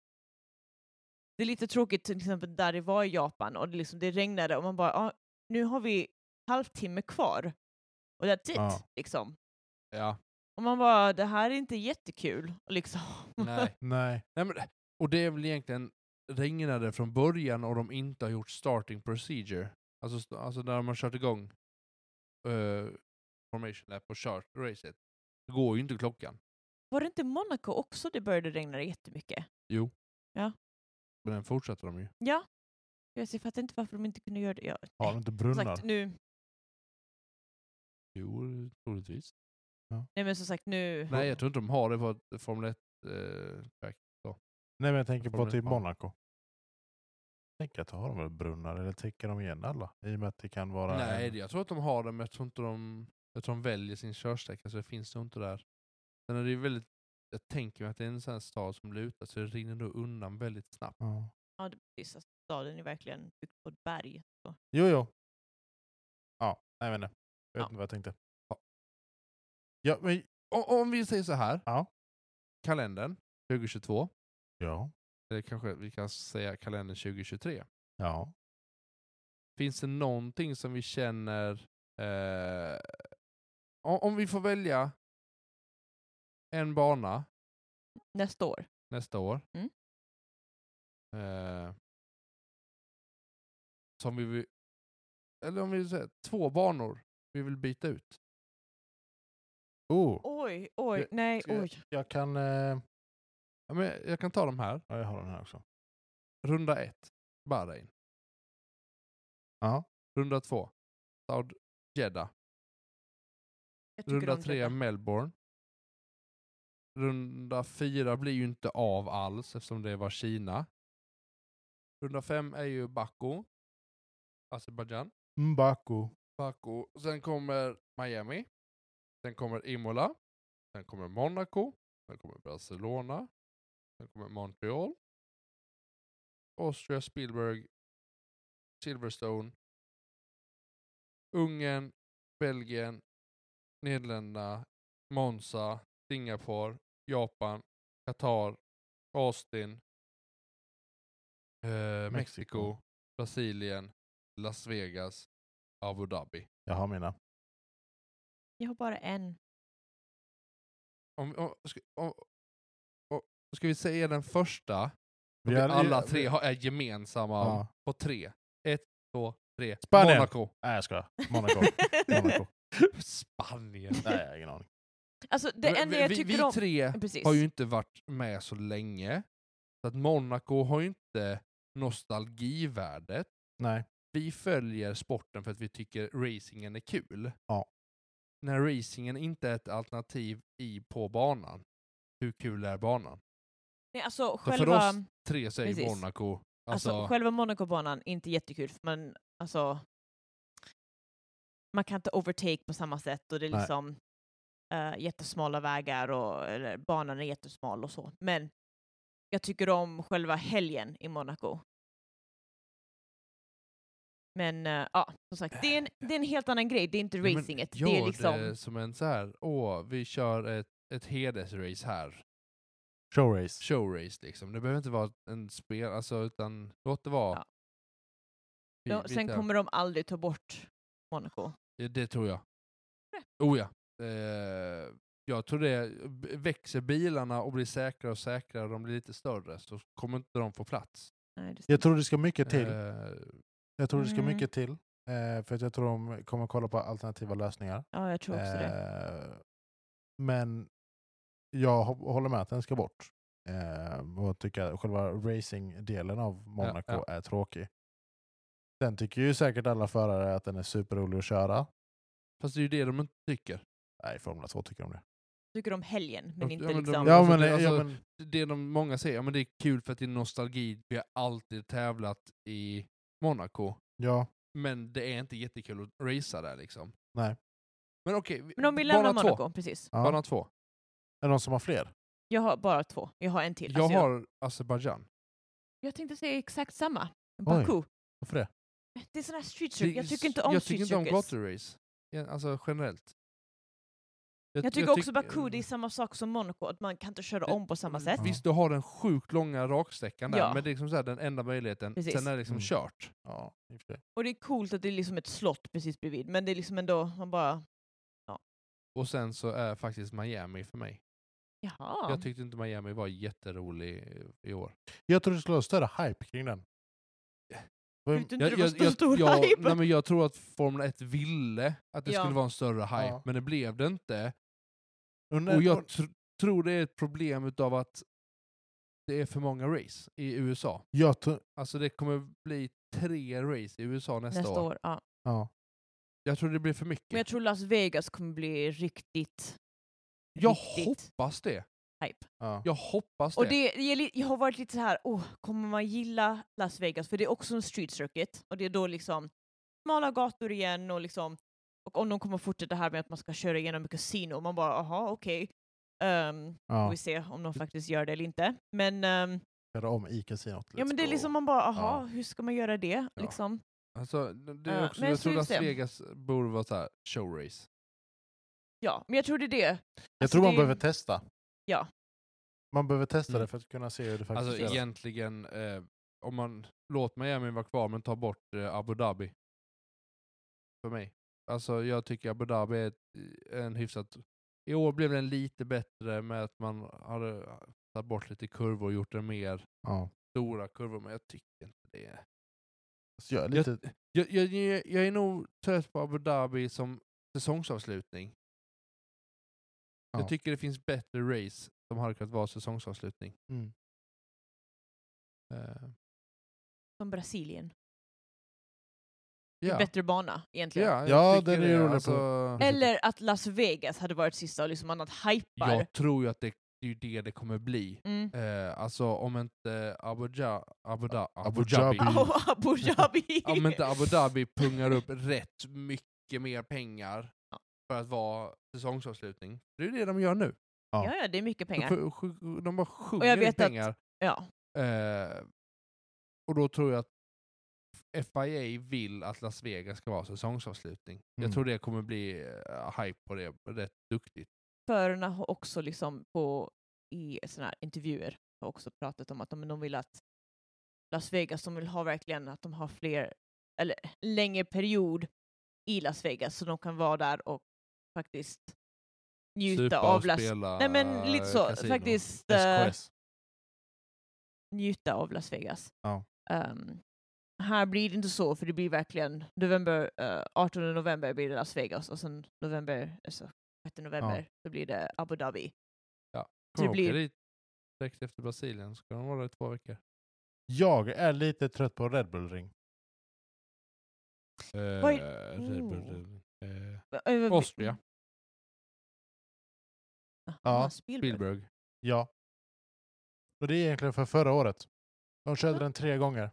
Det är lite tråkigt till exempel där det var i Japan och det, liksom, det regnade och man bara ah, nu har vi halvtimme kvar och that's it
Ja.
liksom.
Ja,
Och man bara det här är inte jättekul liksom.
nej.
Nej.
nej men, och det är väl egentligen regnade från början och de inte har gjort starting procedure. Alltså, st- alltså när de har kört igång eh, formation lap och kört racet. Det går ju inte klockan.
Var det inte Monaco också det började regna jättemycket?
Jo.
Ja.
Men den fortsätter de ju.
Ja. Jag ser- fattar inte varför de inte kunde göra det. Ja,
Har du inte
som
brunnar?
sagt, nu,
Jo, troligtvis.
nej men som sagt nu.
Nej, jag tror inte de har det på ett Formel 1 eh, track.
Nej, men jag tänker
Får
på
du-
typ
ja.
Monaco. Jag tänker att de har väl brunnar, eller täcker de igen alla? I och med att det kan vara...
Nej,
en...
det- jag tror att de har det, men jag tror inte de, jag tror de väljer sin körsträcka, så det finns nog inte där. Sen är det ju väldigt, jag tänker mig att det är en sån här stad som lutar, så det rinner nog undan väldigt snabbt.
ja.
Ja, det precis. Alltså, staden är verkligen byggd på ett berg. Så.
Jo, jo. Ja, nej men nej. Jag vet
Ja.
inte vad jag tänkte.
Ja.
Ja, men...
O- om vi säger så här,
Ja.
kalendern 2022,
Ja.
eller kanske vi kan säga kalendern 2023.
Ja.
Finns det någonting som vi känner... Eh, o- om vi får välja en bana
Nästa år.
nästa år.
Mm.
Eh, som vi vill, eller om vi säger två banor vi vill byta ut.
Oh,
Oj, oj,
Jag-
nej,
ska jag-
oj.
jag kan... Eh...
Ja, men jag- jag kan ta de här.
Ja, jag har den här också.
Runda ett, Bahrain.
Ja.
Runda två, Saud Jeddah.
Jag tycker
Runda
om
tre,
detta.
Melbourne. Runda fyra blir ju inte av alls eftersom det var Kina. Runda fem är ju Baku, Azerbaijan.
Mbaku.
Baku. Sen kommer Miami. Sen kommer Imola. Sen kommer Monaco. Sen kommer Barcelona. Sen kommer Montreal. Austria, Spielberg, Silverstone. Ungern, Belgien, Nederländerna, Monza, Singapore, Japan, Qatar, Austin, eh, Mexiko.
Mexiko.
Brasilien, Las Vegas, Abu Dhabi.
Jag har mina.
Jag har bara en.
Om, om, ska, om, om, ska vi säga den första? Vi
har-
alla tre har, är gemensamma
Ja.
på tre. Ett, två, tre.
Spanien.
Monaco.
Nej, jag skojar. Monaco. Monaco.
Spanien.
Nej, jag har ingen aning.
alltså det
Men
enda
vi,
jag
vi,
tycker
vi
om...
tre
Precis.
har ju inte varit med så länge. Så att Monaco har ju inte nostalgivärdet.
Nej.
Vi följer sporten för att vi tycker racingen är kul.
Ja.
När racingen inte är ett alternativ i på banan, hur kul är banan?
Nej, alltså
för
själva...
oss- Tre säger
Precis.
Monaco.
Alltså, själva Monaco-banan, inte jättekul, för man, alltså, man kan inte overtake på samma sätt och det är
Nej.
liksom eh, jättesmala vägar och eller, banan är jättesmal och så. Men jag tycker om själva helgen i Monaco. Men eh, ja, som sagt, det är, en, det är en helt annan grej. Det är inte
Ja, men
racinget.
Gör
det är liksom...
det som en så här, åh, vi kör ett, ett hedersrace här.
Showrace.
Showrace liksom. Det behöver inte vara en spel, alltså utan låt det vara.
Ja.
Vi-
de,
vi
sen
tar-
kommer de aldrig ta bort Monaco.
Det, det tror jag.
Nej.
Oh ja. Eh, jag tror det, b- växer bilarna och blir säkrare och säkrare och de blir lite större så kommer inte de få plats.
Nej, det
Jag tror det ska mycket till.
Eh,
Jag tror det ska
Mm.
mycket till. Eh, för att jag tror de kommer kolla på alternativa lösningar.
ja, jag tror också det.
Eh, men jag hå- håller med att den ska bort. Eh, och tycker att själva racingdelen av Monaco
ja.
är tråkig. Sen tycker ju säkert alla förare att den är superrolig att köra.
fast det är ju det de inte tycker.
Nej, Formel 2 tycker de det.
Tycker om helgen, men
Ja,
inte
men de- Ja,
liksom...
Ja
alltså,
men,
det-
ja,
alltså-
men
Det de många säger, ja men det är kul för att det är nostalgi, vi har alltid tävlat i Monaco.
ja,
Men det är inte jättekul att racea där liksom.
Nej.
Men okej, vi-
Men om vi
bana
lämnar
två.
Monaco, precis.
ja.
Bana två.
Är det någon som har fler?
Jag har bara två. Jag har en till.
Jag
Alltså, jag,
har Azerbaijan.
jag tänkte säga exakt samma.
Oj.
Baku.
Varför det?
Det är sån här street
Det är
circus. Jag
s-
tycker inte om
Jag
street
tycker inte om
circus.
gaturace. Ja, Alltså generellt.
Jag tycker också Baku, det är samma sak som Monaco, att man kan inte köra
Det- Mm.
om på samma sätt.
Visst, du har den sjukt långa raksträckan där,
Ja.
men det är liksom så här, den enda möjligheten.
Precis.
Sen är det liksom
Mm.
kört.
Ja, i och för sig.
Och det är coolt att det är liksom ett slott precis bredvid, men det är liksom ändå, man bara,
Och sen så är faktiskt Miami för mig.
jaha.
Jag tyckte inte Miami var jätterolig eh, i år.
Jag tror det skulle vara större hype kring den.
Jag
Vem-
tyckte inte
Jag,
det var
jag,
så stor
jag, jag,
hype.
nej, men jag tror att Formel 1 ville att det
Ja.
skulle vara en större hype,
Ja.
men det blev det inte.
Undrar-
Och jag tr tror det är ett problem utav att det är för många race i USA.
jag tror-
Alltså det kommer bli tre race i USA nästa,
Nästa
år.
år, ja.
ja.
Jag tror det blir för mycket.
Men jag tror Las Vegas kommer bli riktigt,
Jag
riktigt
hoppas det.
hype.
Ja.
Jag hoppas
Och
det.
det, det är li- jag har varit lite så här, oh, kommer man gilla Las Vegas? För det är också en street circuit, och det är då liksom smala gator igen och liksom, och om de kommer fortsätta här med att man ska köra igenom ett kasino, man bara, aha, okej. Ehm, Får
Ja.
vi se om de faktiskt gör det eller inte. Men, ehm,
Köra om i kasinot.
ja, men det är
Let's go.
liksom man bara, aha,
Ja.
hur ska man göra det?
Ja.
Liksom.
Alltså, det
Ja,
är också,
men
jag
jag
tror
tror
Las
det.
Vegas borde vara så här showrace.
ja, men jag tror det är det.
Jag
Alltså,
tror man
det-
behöver testa.
Ja. Man
Man behöver testa
Mm.
det för att kunna se hur det faktiskt
Alltså
är.
egentligen, eh, om man låt Miami vara kvar men ta bort eh, Abu Dhabi. För mig. Alltså jag tycker Abu Dhabi är ett, en hyfsat... I år blev den lite bättre med att man hade eh, tagit bort lite kurvor och gjort den mer
Ja.
stora kurvor, men jag tycker inte det. är-
Så Alltså, jag, är lite,
Jag, jag, jag, jag är nog trött på Abu Dhabi som säsongsavslutning.
Ja.
Jag tycker det finns bättre race som hade kunnat vara säsongsavslutning.
Mm.
Eh,
Som Brasilien.
ja.
Bättre bana egentligen.
Ja, jag
Ja,
tycker Alltså,
den är ju rolig på-
Eller att Las Vegas hade varit sista och liksom man hade hypar.
Jag tror ju att det, det är ju det det kommer bli.
Mm.
Eh, alltså om inte Abu, ja, Abu, da, Abu
Abu
Dhabi,
Dhabi.
Oh, Abu Dhabi!
om inte Abu Dhabi pungar upp rätt mycket mer pengar
Ja.
för att vara säsongsavslutning. Det är ju det de gör nu.
Ja.
ja, ja, det är mycket
De,
pengar.
sj- sj- de bara sjunger
jag
in
vet att-
pengar.
Ja.
Eh, och då tror jag att FIA vill att Las Vegas ska vara säsongsavslutning. Jag
Mm.
tror det kommer bli eh, hype på det rätt duktigt.
Förarna har också liksom på, i såna här intervjuer har också pratat om att de, de vill att Las Vegas, de vill ha verkligen att de har fler, eller längre period i Las Vegas så de kan vara där och faktiskt njuta
Supa
av
och
Las
spela,
Nej men lite så,
eh, kasino.
faktiskt eh,
SKS.
njuta av Las Vegas.
Ja.
Ehm, här blir det inte så för det blir verkligen november, eh, 18 november blir det Las Vegas och sen november, alltså 6 november så blir det Abu Dhabi.
Kommer
det
de åka
blir-
dit direkt efter Brasilien ska de vara där i två veckor.
Jag är lite trött på Red Bull Ring.
Vad är- oh.
Eh,
Ooh.
Red Bull, eh,
Eh, eh,
Austria,
Aha,
Ja,
Spielberg.
Spielberg.
Ja. Och det är egentligen för förra året. De körde
Ja.
den tre gånger.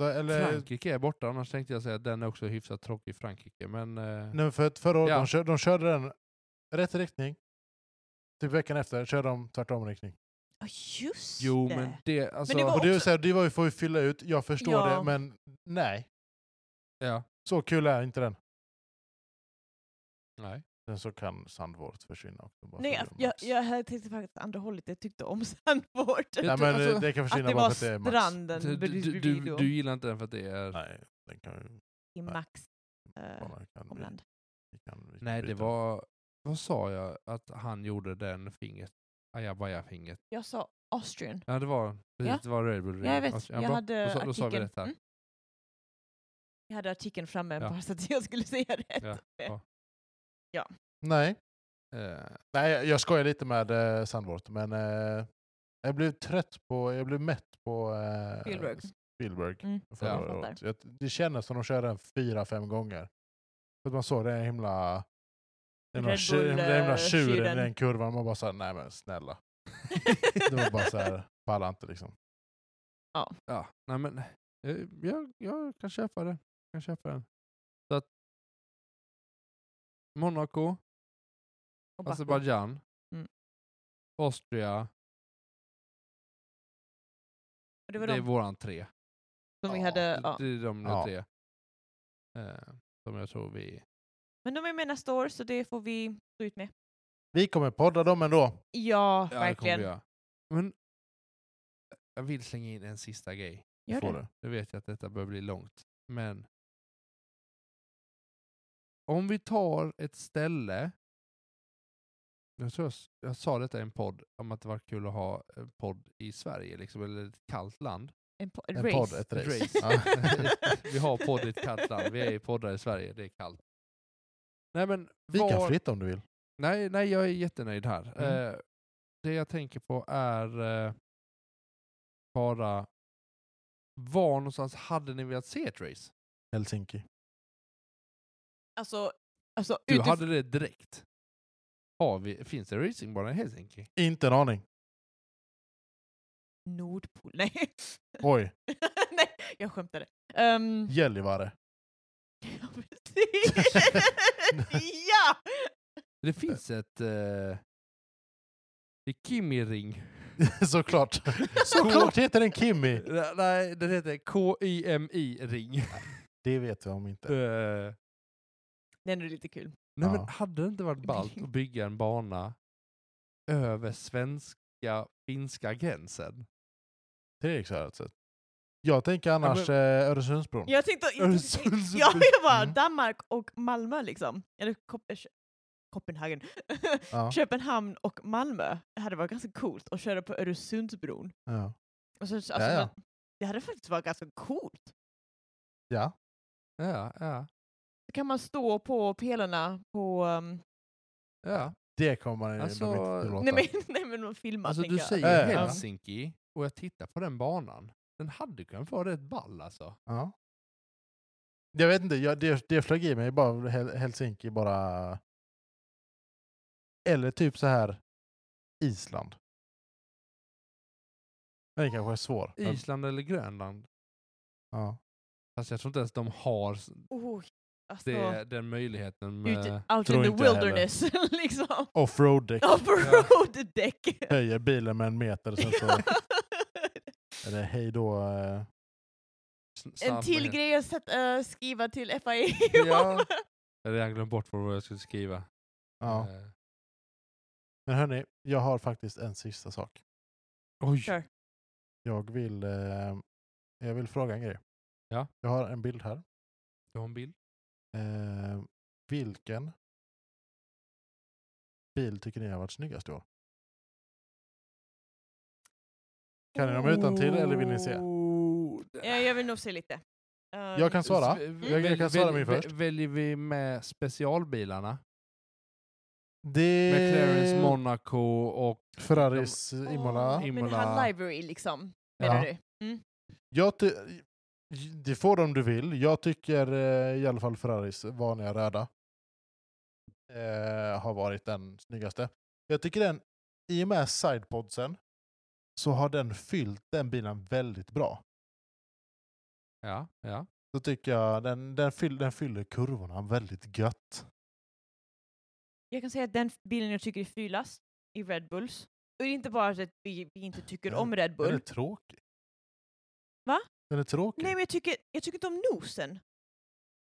Så, eller,
Frankrike är borta, annars tänkte jag säga att den är också hyfsat tråkig i Frankrike. Men, eh,
nej, för att förra året
Ja.
de, körde, de körde den rätt riktning. Typ veckan efter körde de tvärtom riktning.
Ja, just
jo
det.
men det, alltså,
det
Och det, är ju
också-
så här, det var ju för att fylla ut, jag förstår
Ja.
det, men nej.
ja,
Så kul är inte den.
nej.
Sen så kan sandvård försvinna också. bara
Nej,
för att
jag,
det är
jag,
Max.
jag hade tänkt faktiskt åt andra hållet, jag tyckte om sandvård.
Nej,
Jag
men
tror- alltså,
eh, det kan
Att
försvinna
det
bara
var
för att det är Max.
stranden
Du,
bredvid
du, du,
då,
du gillar inte den för att det är... Nej,
Nej, den kan ju
i Max eh,
bara... Kan vi,
omland.
vi kan, vi kan
det
bryta.
var Vad sa jag att han gjorde den fingret? Ajabaja-fingret.
Jag sa Austrian.
Ja, det var, precis,
Ja.
det var Red Bull
Ja, jag
Ring.
vet.
Alltså,
Jag
bra.
hade
då, sa- då sa vi
artikeln.
rätt här.
Mm. Jag hade artikeln framme
Ja.
bara så att jag skulle säga rätt.
Ja, ja.
Nej,
Eh,
Nej, jag- jag skojar lite med eh, Sandvort, men eh, jag blev trött på, jag blev mätt på eh,
Spielberg.
Spielberg
Mm.
förra
Ja.
Jag
året. Jag, det kändes som de körde den fyra, fem gånger. För att man såg den himla den himla,
Red
tju-
Bull,
den himla
eh,
tjuren i
tjuren.
den kurvan. Man bara såhär, nej men snälla. Det var bara såhär, pallar inte liksom.
ja, nej men eh, jag, jag kan köpa det. Jag kan köpa den. Så att Monaco,
Och
Alltså,
Baku.
Azerbajdzjan,
Mm.
Austria,
Och Det var
det är
de
våran tre.
som vi
ja,
hade.
Det-
Ja.
Det är de
Ja.
tre. Eh, som jag tror vi...
Men de är med nästa år så det får vi stå ut med.
Vi kommer podda dem ändå.
Ja,
Ja, det kommer
verkligen.
vi göra. Men jag vill slänga in en sista grej.
Gör
Får
det.
du.
Nu vet jag att detta börjar bli långt, men om vi tar ett ställe. Jag tror jag, s- jag sa detta i en podd om att det var kul att ha en podd i Sverige, liksom, eller ett kallt land.
En, po-
En
race.
podd, ett race.
Race.
Ja.
Vi har podd i ett kallt land, vi är ju poddar i Sverige, det är kallt. Nej, men
Vi kan
var-
flytta om du vill.
Nej, nej, jag är jättenöjd här.
Mm.
Eh, det jag tänker på är eh, bara var någonstans hade ni velat se ett race?
Helsinki.
Alltså, alltså
Du
utif-
hade det direkt. Har vi, finns det racingbana i Helsinki?
Inte en aning.
Nordpol. Nej.
Oj,
Nej, jag skämtade. Um,
Gällivare.
ja, precis. ja!
Det finns ett... Eh, det är Kimi-ring.
Såklart. Såklart heter den Kimmy.
Nej, den heter KYMI-ring.
Det vet jag om inte.
Eh,
Det är ändå lite kul.
Nej,
Ja.
men hade det inte varit ballt att bygga en bana över svenska-finska gränsen?
Det är klart. Jag tänker annars
men-
eh, Öresundsbron.
Jag tänkte...
Öresundsbron.
ja, jag bara,
Mm.
Danmark och Malmö liksom. Eller Kop- Sch- Kopenhagen.
Ja,
Köpenhamn och Malmö. Det hade varit ganska coolt att köra på Öresundsbron.
ja.
Och så, alltså,
ja.
Det hade faktiskt varit ganska coolt.
ja.
Ja, ja,
Då kan man stå på pelarna på... ehm,
ja.
Det kommer man ju
Alltså,
nog inte tillåta.
nej, men, nej men man filmar
Alltså
tänker
du
jag.
säger
Ja, ja.
Helsinki och jag tittar på den banan. Den hade kunnat vara rätt ball alltså.
Ja. Jag vet inte, jag, det, det flög i mig bara Hel- Helsinki bara... Eller typ så här Island. Men det kanske är svår. men-
Island eller Grönland.
Ja.
Fast jag tror inte ens de har s-
Oh, alltså,
det, den möjligheten. Med,
ut, out
tror
in the
inte heller.
wilderness liksom.
Offroad-däck.
Offroad däck.
Höjer bilen med en meter sen så är det hej då. eh.
s-
en
snabb-
till grej att sätt, eh, skriva till FIA
Ja. Jag hade redan glömt bort vad jag skulle skriva.
Ja.
Eh,
Men hörni, jag har faktiskt en sista sak.
oj!
Kör.
Jag vill, eh, jag vill fråga en grej.
Ja.
Jag har en bild här.
Du har en bild?
Eh, vilken bil tycker ni har varit snyggast i år? Kan ni dem utan till eller vill ni se?
Oh, det-
Ja, jag vill nog se lite. Eh,
Äh. Jag kan svara.
S-
Jag- jag kan svara
väl-
min
väl-
först.
Väljer vi med specialbilarna?
Det Eh.
Med Clarence Monaco och...
Ferraris
åh,
Imola.
Imola.
Men han library liksom, menar
Ja.
du?
Jag ty- det får de du vill. Jag tycker eh, i alla fall Ferraris vanliga röda eh, har varit den snyggaste. Jag tycker den, i och med sidepodsen, så har den fyllt den bilen väldigt bra.
Ja, ja.
Så tycker jag den, den, fyll, den fyller kurvorna väldigt gött.
Jag kan säga att den bilen jag tycker är fulast i Red Bulls, och det är inte bara att vi, vi inte tycker
Mm.
om Red
Den är
Bull.
tråkig.
Va?
Den är tråkig.
Nej,
Nej.
men jag tycker, jag tycker inte om nosen.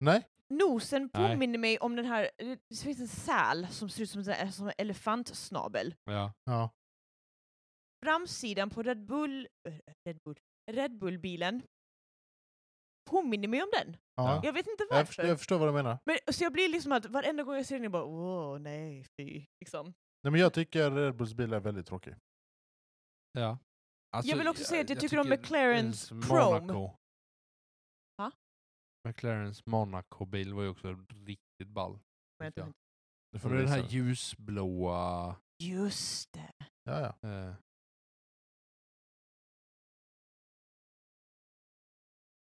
Nej.
Nosen
Nej.
påminner mig om den här, det finns en säl som ser ut som en, som en elefantsnabel.
ja.
Ja.
Framsidan på Red Bull, eh, Red Bull, Red Bull-bilen påminner mig om den.
Ja.
Jag vet inte
Jag, förstår,
varför.
jag förstår vad du menar.
Men, så jag blir liksom att varenda gång jag ser den, jag bara åh nej, fy. Liksom.
Nej, men jag tycker Red Bulls bil är väldigt tråkig.
Ja. Alltså,
Jag vill också säga att jag tycker om McLarens
ens
Chrome.
Monaco-
Va?
McLarens Monaco-bil var ju också riktigt ball. Liksom.
Men jag
tycker jag.
tror inte-
Det får
För
du
den
visa.
här ljusblåa...
Just det.
ja, ja.
Eh,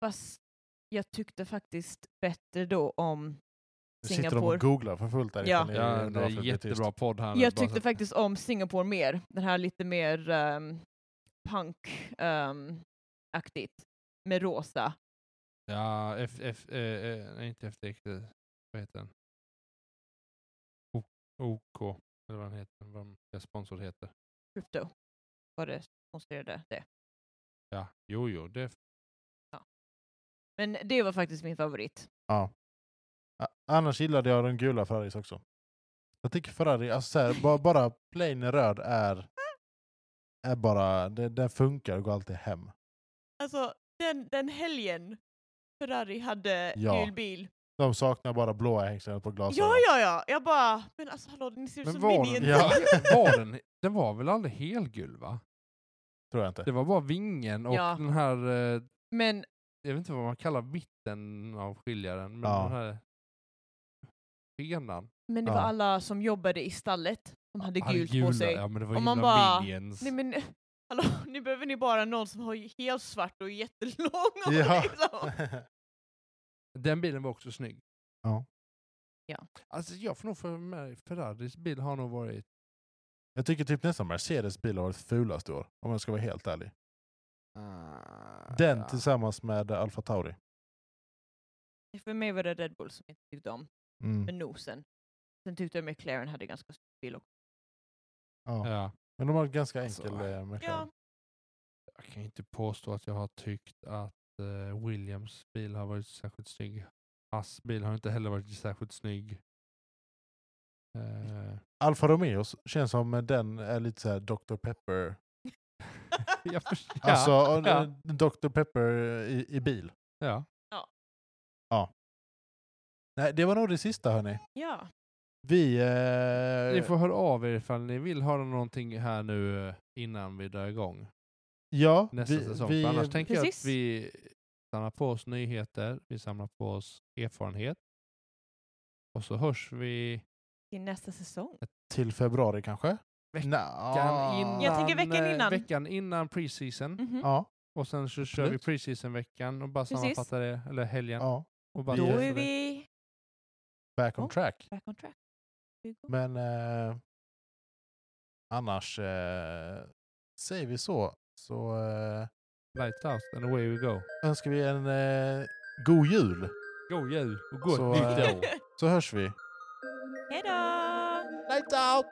Fast jag tyckte faktiskt bättre då om
Nu sitter de
Singapore.
och googlar för fullt där.
Ja.
ifall ni
ja,
undrar
det
varför
är
blir
jättebra
tyst.
podd här nu,
Jag
bara
tyckte
så-
faktiskt om Singapore mer. Den här lite mer ehm, punk-aktigt. med rosa.
Ja, F, F, eh, eh, nej, inte FTX, eh, vad heter den? O, OK, eller vad den heter, vad deras sponsor heter.
Crypto var det som sponsorerade det.
Ja, jo, jo, det,
Men det var faktiskt min favorit.
Ja. A- Annars gillade jag den gula Ferraris också. Jag tycker Ferrari, alltså så här, bara, bara plain röd är, är bara, det, den funkar och går alltid hem.
Alltså den, den helgen Ferrari hade
Ja.
gul bil.
De saknar bara blåa hängslen på glasögon.
Ja, ja, ja. Jag bara, men alltså hallå, ni ser ut
Men
som
var
minions.
den-
Ja.
var den, den var väl aldrig helgul va?
Tror jag inte.
Det var bara vingen och
Ja.
den här, eh,
Men
jag vet inte vad man kallar mitten av skiljaren, men
Ja.
den här fenan.
Men det
Ja.
var alla som jobbade i stallet som hade
Hade
gult på
gula,
sig.
Ja, men det var
Och man
himla
bara,
minions.
Nej men hallå, nu behöver ni bara någon som har helt svart och är jättelång. Och
Ja.
liksom.
Den bilen var också snygg.
Ja.
Ja.
Alltså jag får nog för mig, Ferraris bil har nog varit
jag tycker typ nästan Mercedes bil har varit fulast i år, om jag ska vara helt ärlig. Den
Ah, ja.
tillsammans med eh, Alfa Tauri.
För mig var det Red Bull som jag inte tyckte om,
Mm.
med nosen. Sen tyckte jag McLaren hade ganska stor bil också.
Ja.
Ja.
Men de har ett ganska
Alltså,
enkel eh,
Ja,
McLaren.
Jag kan ju inte påstå att jag har tyckt att eh, Williams bil har varit särskilt snygg. Haas bil har inte heller varit särskilt snygg. Eh,
Alfa Romeos känns som eh, den är lite så här Dr. Pepper.
jag förstår.
Alltså och,
ja.
eh, Dr. Pepper eh, i, i bil.
ja.
Nej, det var nog det sista hörni.
ja.
Vi...
Ni
Eh,
får höra av er ifall ni vill höra någonting här nu eh, innan vi drar igång
ja,
nästa
vi,
säsong.
Vi,
För annars tänker jag att
Precis.
vi samlar på oss nyheter, vi samlar på oss erfarenhet och så hörs vi
Till nästa säsong.
till februari kanske?
Veckan
Nja.
innan,
Jag tänker veckan
eh,
innan.
veckan innan preseason.
Mhm.
Ja,
Och sen så kör vi
Absolut.
preseason-veckan och bara
Precis.
sammanfattar det, eller helgen.
ja.
Och bara
Då
sammanfattar
Då är
det.
vi
Back on
Oh.
track.
back on track. Vi går.
Men eh, annars eh, säger vi så. Så eh,
Lights out and away we go.
önskar vi en eh, god jul.
God jul och gott
Så,
nytt
eh,
år.
Så hörs vi.
Hej då!
Lights out!